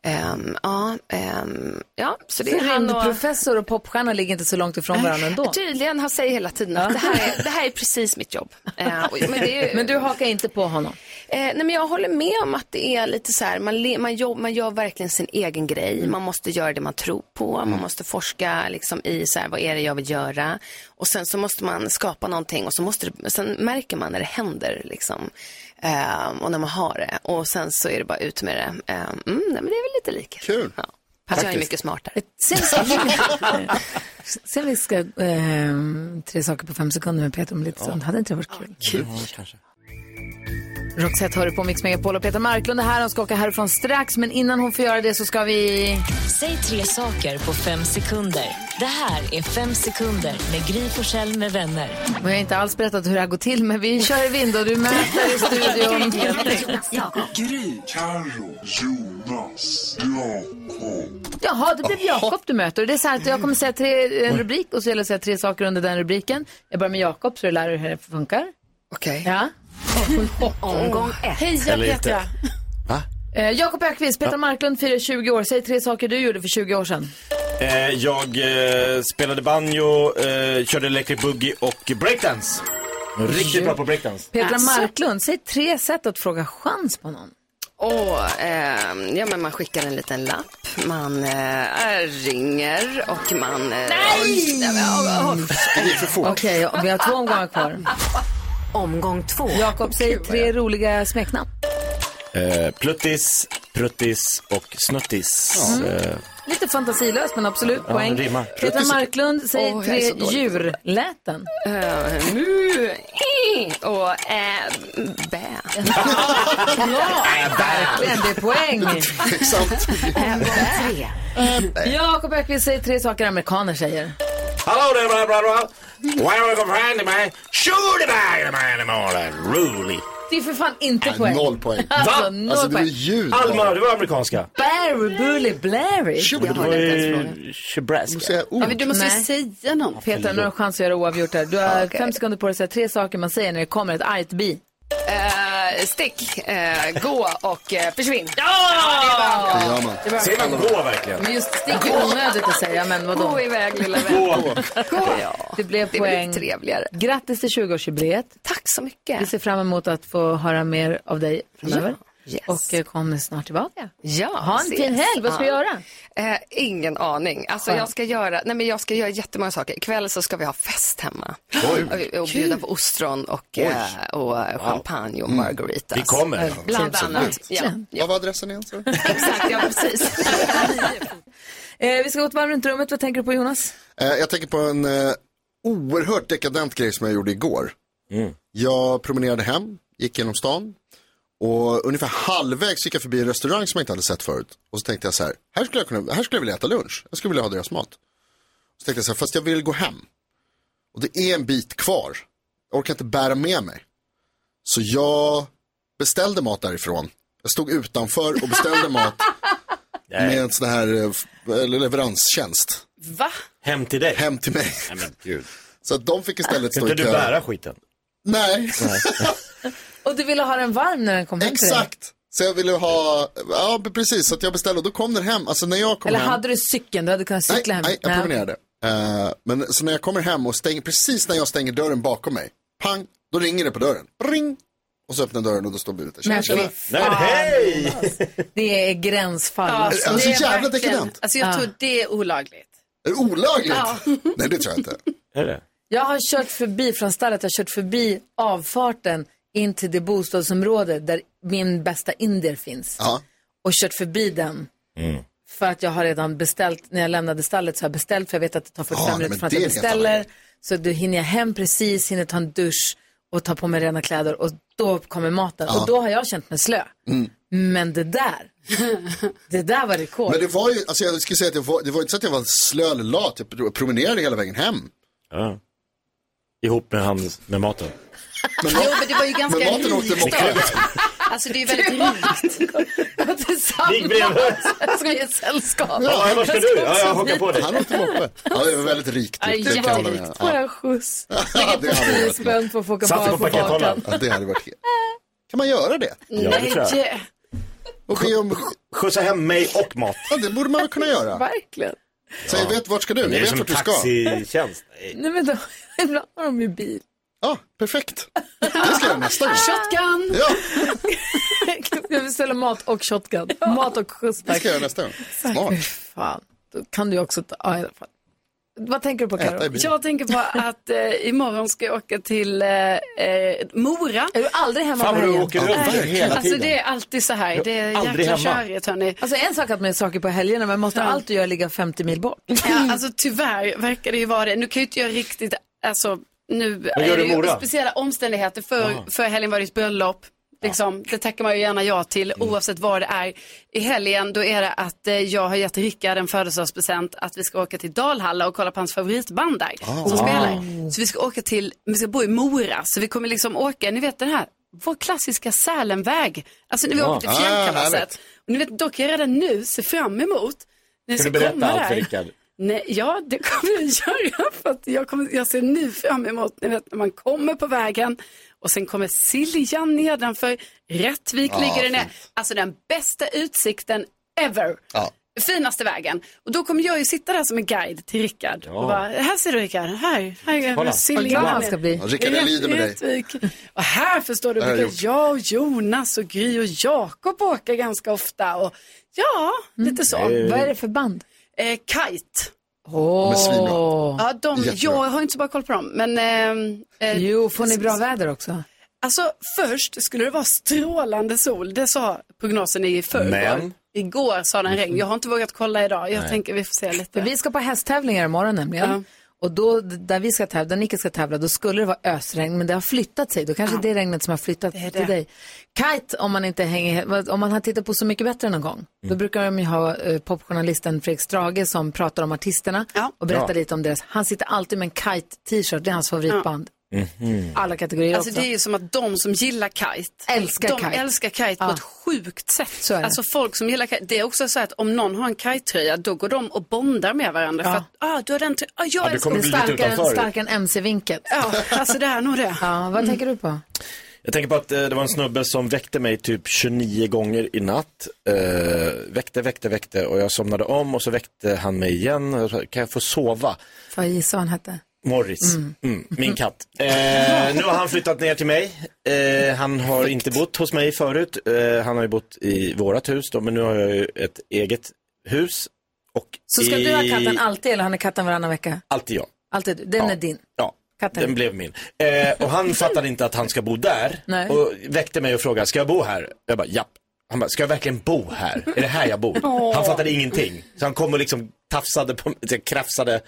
S14: Ehm, ja, ehm, ja, så det är
S5: så
S14: han och... Äh, typ.
S5: rymdprofessor och popstjärna ligger inte så långt ifrån varandra ändå?
S14: Tydligen, han säger hela tiden att det här är, det här är precis mitt jobb. Eh, och- men, det är ju,
S5: Men du hakar inte på honom?
S14: eh, nej, men jag håller med om att det är lite så här, man, le, man, jobb, man gör verkligen sin egen grej. Man måste göra det man tror på. Man måste forska liksom, i så här, vad är det jag vill göra. Och sen så måste man skapa någonting och så måste det, sen märker man när det händer. Liksom. Eh, och när man har det. Och sen så är det bara ut med det. Eh, mm, nej, men det är väl lite lika.
S2: Kul.
S14: Ja. Fast jag är
S5: Faktiskt.
S14: mycket smartare.
S5: Sen vi ska eh, tre saker på fem sekunder med Peter om lite stund. Hade inte det varit kul?
S14: Kul.
S5: Roxette hör du på Mix Megapol och Peter Marklund är här. Hon ska åka härifrån strax, men innan hon får göra det så ska vi...
S16: Säg tre saker på fem sekunder. Det här är fem sekunder med Gry Forssell med vänner.
S5: Och jag har inte alls berättat hur det här går till, men vi kör i vind och du möter i studion.
S17: Gry, Carro, Jonas, Jakob.
S5: Jaha, det blev Jakob du möter. Och Det är så här att jag kommer säga tre, en rubrik och så gäller det att säga tre saker under den rubriken. Jag börjar med Jakob så du lär dig hur det funkar.
S14: Okej.
S5: Ja.
S14: Omgång ett.
S5: Heja
S14: Eller
S5: Petra.
S14: inte.
S3: Va?
S5: Eh, Jakob Ökvist, Peter
S3: Ja.
S5: Marklund firar 20 år. Säg tre saker du gjorde för 20 år sedan.
S3: Eh, jag eh, spelade banjo, eh, körde electric boogie och breakdance. Riktigt bra på breakdance.
S5: Petra Marklund, säg tre sätt att fråga chans på någon.
S14: Och, eh, ja, men man skickar en liten lapp, man eh, ringer och man... Eh, Nej!
S5: Det gick för fort. Okej, och vi har två omgångar kvar. Omgång två. Jakob, säg tre roliga smeknamn.
S3: Eh, pluttis, pruttis och snuttis.
S5: Ja.
S3: Eh,
S5: Lite fantasilöst men absolut
S3: Ja,
S5: poäng.
S3: det rimmar.
S5: Petra Marklund, säg
S14: Åh, jag är
S5: tre
S14: så dålig.
S5: djurläten.
S14: mu, eh, och eh, bä.
S5: Ja, verkligen. Det är poäng. Omgång tre. Jakob Öqvist, säg tre saker amerikaner säger.
S3: Hallå där, bra, bra, bra. Welcome friend of mine. Shoot a bag of mine in the morning. Rolig.
S5: Det är för fan inte poäng. Alltså, noll poäng.
S3: Alma, du var amerikanska.
S5: Barry, Bully, Blairy.
S3: Du var ju Chebraska.
S4: Ja, men du måste ju
S5: säga någon. Petra, nu har du chans att göra oavgjort här. Du har fem sekunder på dig att säga tre saker man säger när det kommer ett argt bi.
S14: Eh, stick, eh, gå och eh, försvinn. Ja!
S5: Det gör man. Det var- Ser man gå
S3: verkligen?
S5: Men just stick är onödigt att säga, men vadå?
S14: Gå iväg lilla vän.
S5: Det blev
S14: Det blir
S5: poäng.
S14: trevligare.
S5: Grattis till 20-årsjubileet.
S14: Tack så mycket.
S5: Vi ser fram emot att få höra mer av dig framöver.
S14: Yes.
S5: Och eh, kom snart tillbaka.
S14: Ja,
S5: ha en
S14: ses.
S5: fin helg. Vad ska du
S14: Ja.
S5: göra?
S14: Eh, ingen aning. Alltså,
S5: Skönt.
S14: jag, ska göra, nej, men jag ska göra jättemånga saker. Ikväll så ska vi ha fest hemma. Och, och bjuda på ostron och,
S2: Oj. Mm.
S14: eh, och champagne och margaritas.
S2: Vi kommer.
S14: Eh, Bland
S2: Trevligt.
S14: annat. Ja.
S2: Vad var adressen igen? sa du?
S14: Exakt, ja precis.
S5: Eh, vi ska gå ett varv runt rummet. Vad tänker du på Jonas?
S2: Eh, jag tänker på en eh, oerhört dekadent grej som jag gjorde igår. Jag promenerade hem, gick genom stan och ungefär halvvägs gick jag förbi en restaurang som jag inte hade sett förut. Och så tänkte jag så här, här skulle jag, kunna, här skulle jag vilja äta lunch. Jag skulle vilja ha deras mat. Så tänkte jag så här, fast jag vill gå hem. Och det är en bit kvar. Jag orkar inte bära med mig. Så jag beställde mat därifrån. Jag stod utanför och beställde mat med en sån här eh, f- eller eh, leveranstjänst.
S4: Va?
S3: Hem till dig?
S2: Hem till mig.
S3: Nej, men gud.
S2: Så att de fick istället
S3: Kan
S2: stå i
S3: inte
S2: kö.
S3: du bära skiten?
S2: Nej.
S5: Och du ville ha den varm när den kom hem till dig?
S2: Exakt. Så jag ville ha, ja precis, så att jag beställde och då kom den hem. Alltså när jag kom
S5: Eller
S2: hem.
S5: hade du cykeln? Du hade kunnat
S2: Nej,
S5: cykla hem?
S2: nej, jag promenerade. Eh, men så när jag kommer hem och stänger, precis när jag stänger dörren bakom mig, pang, då ringer det på dörren. Ring! Och så öppnar jag dörren och då står budet där.
S5: Men fy fan. Nej,
S3: hej!
S5: Det är gränsfall.
S4: Ja,
S2: Alltså,
S4: det är
S2: jävla
S4: verkligen-
S2: dekadent.
S4: Alltså jag
S5: Ja.
S4: tror det är olagligt.
S2: Är det olagligt?
S4: Ja.
S2: Nej, det tror jag inte.
S3: Är det?
S5: Jag har kört förbi från stallet, jag har kört förbi avfarten in till det bostadsområde där min bästa indier finns.
S2: Ja.
S5: Och kört förbi den
S3: Mm.
S5: för att jag har redan beställt, när jag lämnade stallet så har jag beställt för jag vet att det tar 45
S2: Ja,
S5: minuter
S2: men
S5: från att
S2: det
S5: jag
S2: är en helt
S5: beställer. Så då hinner jag hem precis, hinner ta en dusch och ta på mig rena kläder och då kommer maten.
S2: Ja.
S5: Och då har jag känt mig slö. Mm. Men det där, det där var rekord.
S2: Men det var ju, alltså jag skulle säga att jag var, det var inte så att jag var slö eller lat, jag pro- promenerade hela vägen hem.
S3: Ja. Ihop med, hans, med maten?
S4: jo, men det var ju ganska
S2: men maten åkte
S4: rikt.
S2: bort.
S4: då. Alltså det är ju väldigt rikt.
S3: Gick bredvid.
S5: Jag ska ge ett sällskap.
S3: Ja, vad ska du? Ja, jag hakar på dig.
S2: Han åkte moppe. Ja, det var väldigt rikt.
S5: Aj,
S2: det kan jag hålla med
S5: jätterikt.
S2: om.
S5: Får jag skjuts?
S2: Ja, det hade
S5: Tio
S2: varit något.
S5: spänn på att få åka
S2: Satt
S5: bar
S2: du
S5: på
S2: på
S5: bakan.
S2: Ja, det hade varit helt... Kan man göra det?
S3: Ja, det tror jag.
S4: det-
S2: Och be om...
S3: Skjutsa hem mig och mat.
S2: Ja, det borde man väl kunna göra.
S5: Verkligen.
S2: Så jag vet, vart ska du? Jag
S3: Det är
S2: vet
S3: som en
S2: vart du ska.
S3: taxitjänst.
S5: Nej men då, ibland har de ju bil.
S2: Ja, perfekt. Det ska jag göra nästa gång.
S3: Mm.
S4: Shotgun!
S2: Ja,
S5: Jag beställer mat och shotgun. Mat och skjuts
S2: det
S5: tack.
S2: ska jag göra nästa gång. Smart.
S5: Fy Fan, då kan du ju också ta, ja, i alla fall. Vad tänker du på
S2: Äta i
S5: Carro?
S2: bilen.
S4: Jag tänker på att eh, imorgon ska jag åka till eh, eh, Mora.
S5: Är du aldrig hemma
S3: Fan
S5: på
S3: vad du
S5: helgen?
S3: åker runt
S2: verkligen.
S3: hela
S4: Alltså det
S3: tiden.
S4: är alltid så här. Det är
S3: Aldrig
S4: jäkla
S3: hemma.
S4: körigt hörni.
S5: Alltså en sak att man gör saker på helgerna, men måste allt du gör ligga 50 mil bort?
S4: Ja, alltså tyvärr verkar det ju vara det. Nu kan ju inte jag riktigt, alltså nu
S3: Vad gör
S4: är det
S3: du i
S4: ju
S3: Mora?
S4: speciella omständigheter. För, för helgen var det ju ett bröllop. Liksom. Det tackar man ju gärna ja till
S3: Mm.
S4: oavsett vad det är. I helgen då är det att eh, jag har gett Rickard en födelsedagspresent att vi ska åka till Dalhalla och kolla på hans favoritband där
S3: Ah.
S4: som spelar. Så vi ska åka till, vi ska bo i Mora. Så vi kommer liksom åka, ni vet den här, vår klassiska Sälenväg. Alltså när vi
S3: Ja.
S4: åker till
S2: Ah,
S4: fjällkalaset.
S2: härligt.
S4: och ni vet, då kan jag redan nu se fram emot när vi
S3: Kan
S4: ska
S3: du
S4: komma
S3: berätta allt för
S4: där.
S3: Rickard?
S4: Nej, ja, det kommer jag göra. För att jag, kommer, jag ser nu fram emot ni vet, när man kommer på vägen och sen kommer Siljan nedanför. Rättvik
S2: Ja,
S4: ligger den ner.
S2: fint.
S4: Alltså den bästa utsikten ever.
S2: Ja.
S4: Finaste vägen. Och då kommer jag ju sitta där som en guide till Rickard. Och bara, här ser du Rickard, här, här är
S3: Kolla.
S5: Vad glad
S4: Siljan.
S5: han ska bli.
S2: Ja, Rickard, jag lider med dig.
S4: Rättvik. Och här förstår du,
S2: Det har jag
S4: brukar jag och Jonas och Gry och Jakob åka ganska ofta. Och, ja, lite så.
S5: Vad är det för band?
S4: Eh, kite.
S2: är svinbra.
S5: Åh,
S4: Ja, de,
S2: Jättebra.
S4: jag har inte så bra koll på dem. Men, ehm, eh,
S5: jo, får ni bra väder också?
S4: Alltså först skulle det vara strålande sol. Det sa prognosen i förrgår.
S3: Men?
S4: Igår sa den regn. Jag har inte vågat kolla idag. Jag tänker vi får se lite.
S5: För vi ska på hästtävlingar imorgon nämligen.
S4: Ja.
S5: Och då, där vi ska tävla, där Nicke ska tävla, då skulle det vara ösregn, men det har flyttat sig. Då kanske det är regnet som har flyttat
S4: Det är
S5: till
S4: det.
S5: dig. Kite, om man inte hänger, om man har tittat på Så mycket bättre någon gång,
S4: Mm.
S5: då brukar de ju ha eh, popjournalisten Fredrik Strage som pratar om artisterna
S4: Ja.
S5: och berättar
S3: Ja.
S5: lite om deras. Han sitter alltid med en kite-t-shirt, det är hans favoritband. Alla kategorier
S4: Alltså
S5: också.
S4: det är ju som att de som gillar kite,
S5: Älskar
S4: de
S5: kite.
S4: älskar kite på
S5: Ja.
S4: ett sjukt sätt.
S5: Så är det.
S4: Alltså folk som gillar kite, det är också så att om någon har en kite-tröja då går de och bondar med varandra. För att, ah du har den tröjan, ah, jag
S3: du
S4: älskar
S3: kommer
S5: Det är
S3: bli lite
S5: starkare,
S3: utanför.
S5: starkare än MC-vinket.
S4: Ja, alltså det är nog det.
S5: Ja, vad tänker du på?
S3: Jag tänker på att eh, det var en snubbe som väckte mig typ 29 gånger i natt. Eh, väckte, väckte, väckte och jag somnade om och så väckte han mig igen. Och jag sa, Kan jag få sova?
S5: Får jag gissa vad han hette?
S3: Morris, mm.
S5: Mm-hmm.
S3: min katt. Eh, nu har han flyttat ner till mig. Eh, han har inte bott hos mig förut. Eh, han har ju bott i vårat hus då, men nu har jag ju ett eget hus. Och
S5: Så ska
S3: i...
S5: du ha katten alltid eller har ni katten varannan vecka?
S3: Alltid jag.
S5: Alltid du. Den
S3: Ja.
S5: är din.
S3: Ja,
S5: Katten.
S3: den blev min. Eh, och han fattade inte att han ska bo där.
S5: Nej.
S3: Och väckte mig och frågade, ska jag bo här? Jag bara, japp. Han bara, ska jag verkligen bo här? Är det här jag bor? Han fattade ingenting. Så han kom och liksom tafsade på mig, så jag krafsade.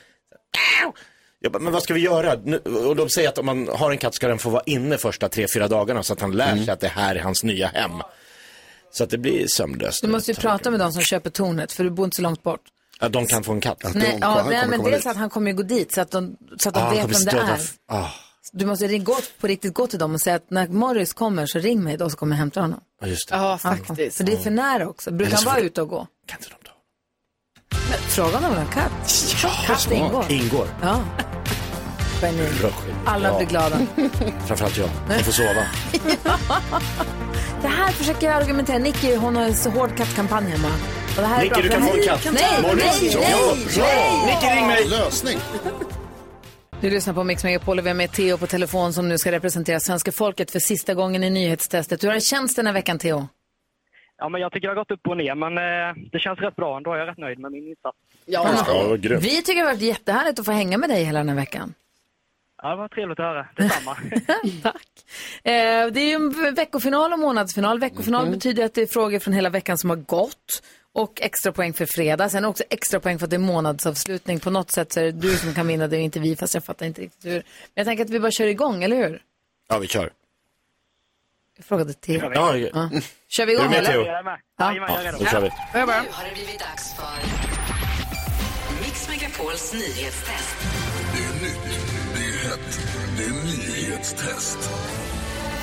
S3: Jag bara, men vad ska vi göra? Nu, och de säger att om man har en katt ska den få vara inne första tre, fyra dagarna så att han lär sig att det här är hans nya hem. Så att det blir sömnlöst.
S5: Du måste ju prata med de som köper tornet, för du bor inte så långt bort.
S3: Ja, de kan få en katt.
S2: Det är
S5: Nej,
S2: om-
S5: ja,
S2: han
S5: nej
S2: kommer
S5: men
S2: komma
S5: dels
S2: dit.
S5: att han kommer ju gå dit så att de, så att de
S3: Ah, han
S5: vet
S3: kommer
S5: vem det
S3: stöta-
S5: är.
S3: Ah,
S5: Du måste ringa, gå, på riktigt gå till dem och säga att när Morris kommer så ring mig då så kommer jag hämta honom.
S3: ja, just det.
S4: Ja,
S5: Ja,
S4: faktiskt.
S5: För det är för nära också. Brukar
S3: Eller
S5: han
S3: så
S5: vara
S3: får-
S5: ute och gå?
S3: Kan inte de ta?
S5: Frågan om en katt. katt ingår.
S3: Ingår.
S5: Ja. Geni.
S3: Bra skit.
S5: Alla
S3: Ja.
S5: blir glada.
S3: Framförallt jag. Jag får sova.
S5: Det här försöker jag argumentera. Nicky, hon har en så hård kattkampanj hemma. Och det här är
S3: Nicky, du
S5: bra för
S3: kan
S5: henne.
S3: få en katt.
S5: Nej,
S3: Morgon.
S5: nej,
S3: Ja,
S5: nej,
S3: bra.
S5: nej.
S3: Nicky, ring mig.
S2: Lösning.
S5: Du lyssnar på Mix Megapol och vi har med Theo på telefon som nu ska representera svenska folket för sista gången i nyhetstestet. Hur har det känts den här veckan, Theo?
S18: Ja, men jag tycker jag har gått upp och ner, men eh, det känns rätt bra ändå. Jag är rätt nöjd med min insats.
S3: Ja, vad grymt.
S5: Vi tycker det har varit jättehärligt att få hänga med dig hela den här veckan.
S18: Ja, det var trevligt att höra. Detsamma.
S4: Mm.
S5: Eh, det är ju en veckofinal och månadsfinal. Veckofinal
S4: Mm.
S5: betyder att det är frågor från hela veckan som har gått. Och extra poäng för fredag. Sen också extra poäng för att det är månadsavslutning. På något sätt så är det du som kan vinna, det är inte vi, fast jag fattar inte riktigt hur. Men jag tänker att vi bara kör igång, eller hur?
S3: Ja, vi kör.
S5: Jag frågade till.
S3: Ja, ja.
S5: Kör vi igång,
S3: Är du med,
S5: eller?
S3: Theo?
S5: Ja.
S3: Ja, då kör vi.
S5: Får jag börja?
S15: Nu har det blivit dags för Mix Megapols nyhetstest.
S19: Det är nytt, det är hett, det är nyhetstest.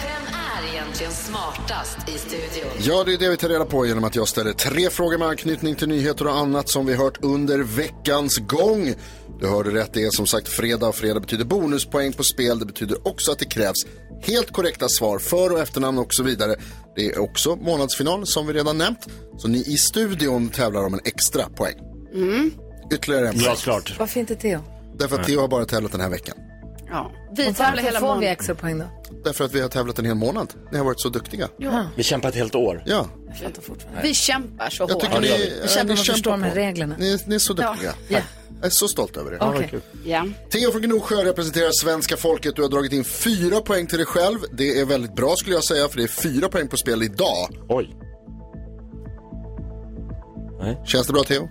S15: Vem är egentligen smartast i studion?
S2: Ja, det är det vi tar reda på genom att jag ställer tre frågor med anknytning till nyheter och annat som vi hört under veckans gång. Du hörde rätt, det är som sagt fredag och fredag betyder bonuspoäng på spel. Det betyder också att det krävs helt korrekta svar, för och efternamn och så vidare. Det är också månadsfinal som vi redan nämnt. Så ni i studion tävlar om en extra poäng.
S5: Mm.
S2: Ytterligare en poäng. Ja,
S3: klart.
S5: Varför inte Theo?
S2: Därför att Theo har bara tävlat den här veckan.
S5: Ja.
S4: Vi
S5: Vi
S4: tävlar
S5: varför
S4: hela
S5: får vi
S4: månaden.
S5: extra poäng då?
S2: Därför att vi har tävlat en hel månad. Ni har varit så duktiga.
S5: Ja.
S3: Vi kämpar ett helt år.
S2: Ja.
S4: Vi kämpar så
S2: Jag
S4: hårt.
S2: tycker ni,
S5: Jag känner
S2: ni
S5: att man förstår
S2: kämpar
S5: de här
S2: på.
S5: reglerna.
S2: Ni, ni är så duktiga.
S4: Ja.
S2: Jag är så stolt över er.
S4: Okej. Ja.
S2: Theo från Gnosjö representerar svenska folket. Du har dragit in fyra poäng till dig själv. Det är väldigt bra skulle jag säga, för det är fyra poäng på spel idag.
S3: Oj.
S2: Känns det bra Theo?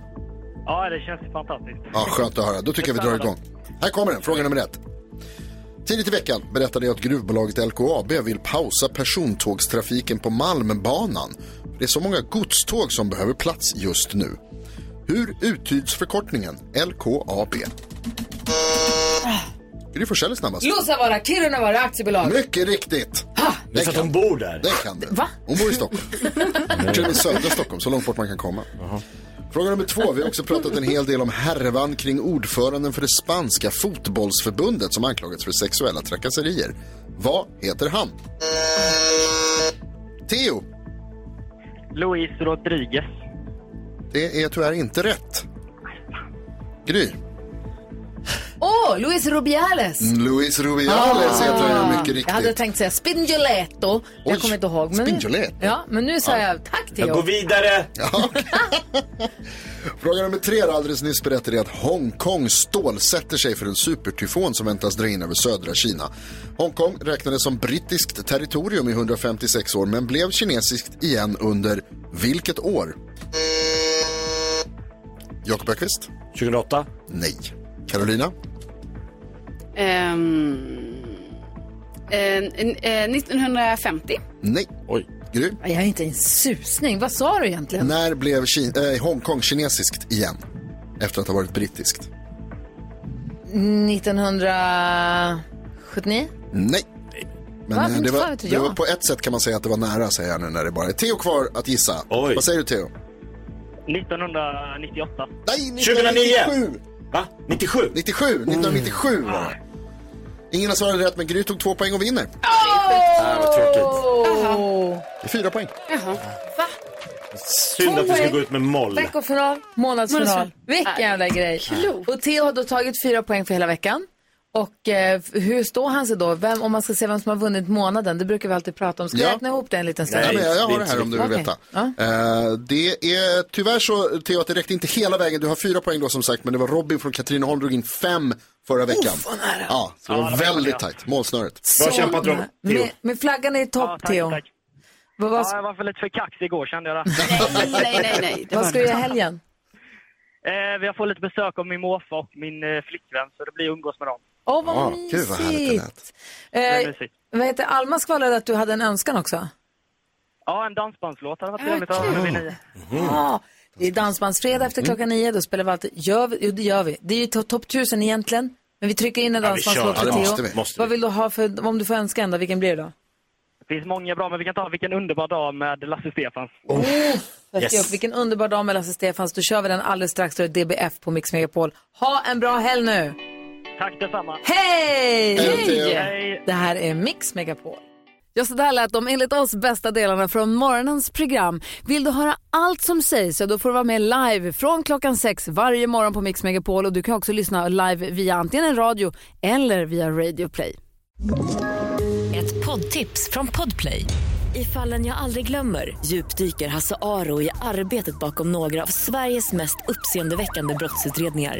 S18: Ja, det känns fantastiskt.
S2: Ja, skönt att höra. Då tycker jag vi drar igång. Här kommer den, fråga nummer ett. Tidigt i veckan berättade jag att gruvbolaget LKAB vill pausa persontågstrafiken på Malmbanan. Det är så många godståg som behöver plats just nu. Hur uttyds förkortningen LKAB? Gry Forssell är snabbast.
S5: Luossavaara, Kirunavaara aktiebolag.
S2: Mycket riktigt.
S3: Det är för att hon bor där.
S2: Det kan du. Hon bor i Stockholm. Till och med södra Stockholm, så långt bort man kan komma. Fråga nummer två. Vi har också pratat en hel del om härvan kring ordföranden för det spanska fotbollsförbundet som anklagats för sexuella trakasserier. Vad heter han? Theo.
S18: Luis Rodriguez.
S2: Det är tyvärr inte rätt. Gry.
S5: Åh, Luis Rubiales. Ah,
S2: Luis Rubiales heter han ju mycket
S5: Jag hade
S2: riktigt.
S5: tänkt säga Spindioletto.
S2: Oj,
S5: jag kommer inte ihåg. Men
S2: Spindioletto?
S5: Ja, men nu sa jag tack Theo.
S3: vidare.
S2: Fråga nummer tre. då. Alldeles nyss berättade jag att Hongkong stålsätter sig för en supertyfon som väntas dra in över södra Kina. Hongkong räknades som brittiskt territorium i 156 år men blev kinesiskt igen under vilket år? Jakob Öqvist?
S3: 2008?
S2: Nej. Carolina?
S4: Ehm, eh, eh, 1950.
S2: Nej. Oj. Gry?
S5: Jag har inte en susning. Vad sa du egentligen?
S2: När blev Ki- eh, Hongkong kinesiskt igen? Efter att ha varit brittiskt?
S5: 1979?
S2: Nej. Men
S5: Va?
S2: eh,
S5: Inte
S2: det,
S5: fan
S2: var,
S5: vet
S2: det
S5: jag.
S2: var på ett sätt kan man säga att det var nära säger jag nu när det bara är Theo kvar att gissa. Vad säger du Theo?
S18: 1998.
S2: Nej,
S18: 2009!
S3: Va? 97?
S2: 97, 1997 var det. Ingen har svarat rätt men Gry tog två poäng och vinner.
S3: Nej, vad tråkigt.
S2: Det är fyra poäng.
S3: Synd att vi ska
S5: poäng.
S3: gå ut med moll.
S5: Veckofinal, månadsfinal.
S3: Månadsfinal.
S5: Vilken jävla grej. Och Theo har då tagit fyra poäng för hela veckan. Och eh, hur står han sig då? Vem, om man ska se vem som har vunnit månaden, det brukar vi alltid prata om. Ska
S2: Ja.
S5: jag räkna ihop det en liten stund?
S2: Nej, men jag, jag har det här om du vill
S5: Okej.
S2: veta.
S5: Ja.
S2: Eh, det är tyvärr så, Theo, att det räckte inte hela vägen. Du har fyra poäng då som sagt, men det var Robin från Katrineholm drog in fem förra veckan. Oh, ja, så det var väldigt tajt. Målsnöret.
S5: Så nära. Med, med flaggan i topp, Theo. Vad, vad,
S18: Ja, jag var för lite för kaxig igår kände jag det.
S4: nej, nej, nej.
S5: vad ska du göra i helgen?
S18: Eh, vi har fått lite besök av min morfar och min eh, flickvän, så det blir umgås med dem.
S5: Åh, vad
S18: Ja,
S5: mysigt.
S18: gud, vad härligt det lät. Det är
S5: Eh,
S18: mysigt.
S5: vad heter Alma skvallrade att du hade en önskan också. Ah,
S18: Ja, en dansbandslåt hade varit trevligt att höra när vi är nio.
S5: Ja, det är dansbandsfredag
S18: Mm.
S5: efter klockan nio. Då spelar vi alltid. Gör vi, jo, det gör vi. Det är ju to- topp tusen egentligen. Men vi trycker in en
S18: Ja, vi kör. Ja,
S5: dansbandslåt
S18: det
S5: för
S18: måste
S5: Theo.
S18: vi. Måste
S5: Vad vill du ha för, om du får önska en då, vilken blir det då?
S18: Det finns många bra, men vi kan ta Vilken underbar dag med Lasse Stefans.
S20: Yes. Upp. Vilken underbar dag med Lasse Stefans. Då kör vi den alldeles strax. Då är det DBF på Mix Megapol. Ha en bra helg nu!
S18: Tack detsamma.
S20: Hej!
S18: Hej till er. Hej!
S20: Det här är Mix Megapol.
S5: Ja, så där lät de enligt oss bästa delarna från morgonens program. Vill du höra allt som sägs så då får du vara med live från klockan sex varje morgon på Mix Megapol och du kan också lyssna live via antingen en radio eller via Radio Play.
S16: Ett poddtips från Podplay. I fallen jag aldrig glömmer djupdyker Hasse Aro i arbetet bakom några av Sveriges mest uppseendeväckande brottsutredningar.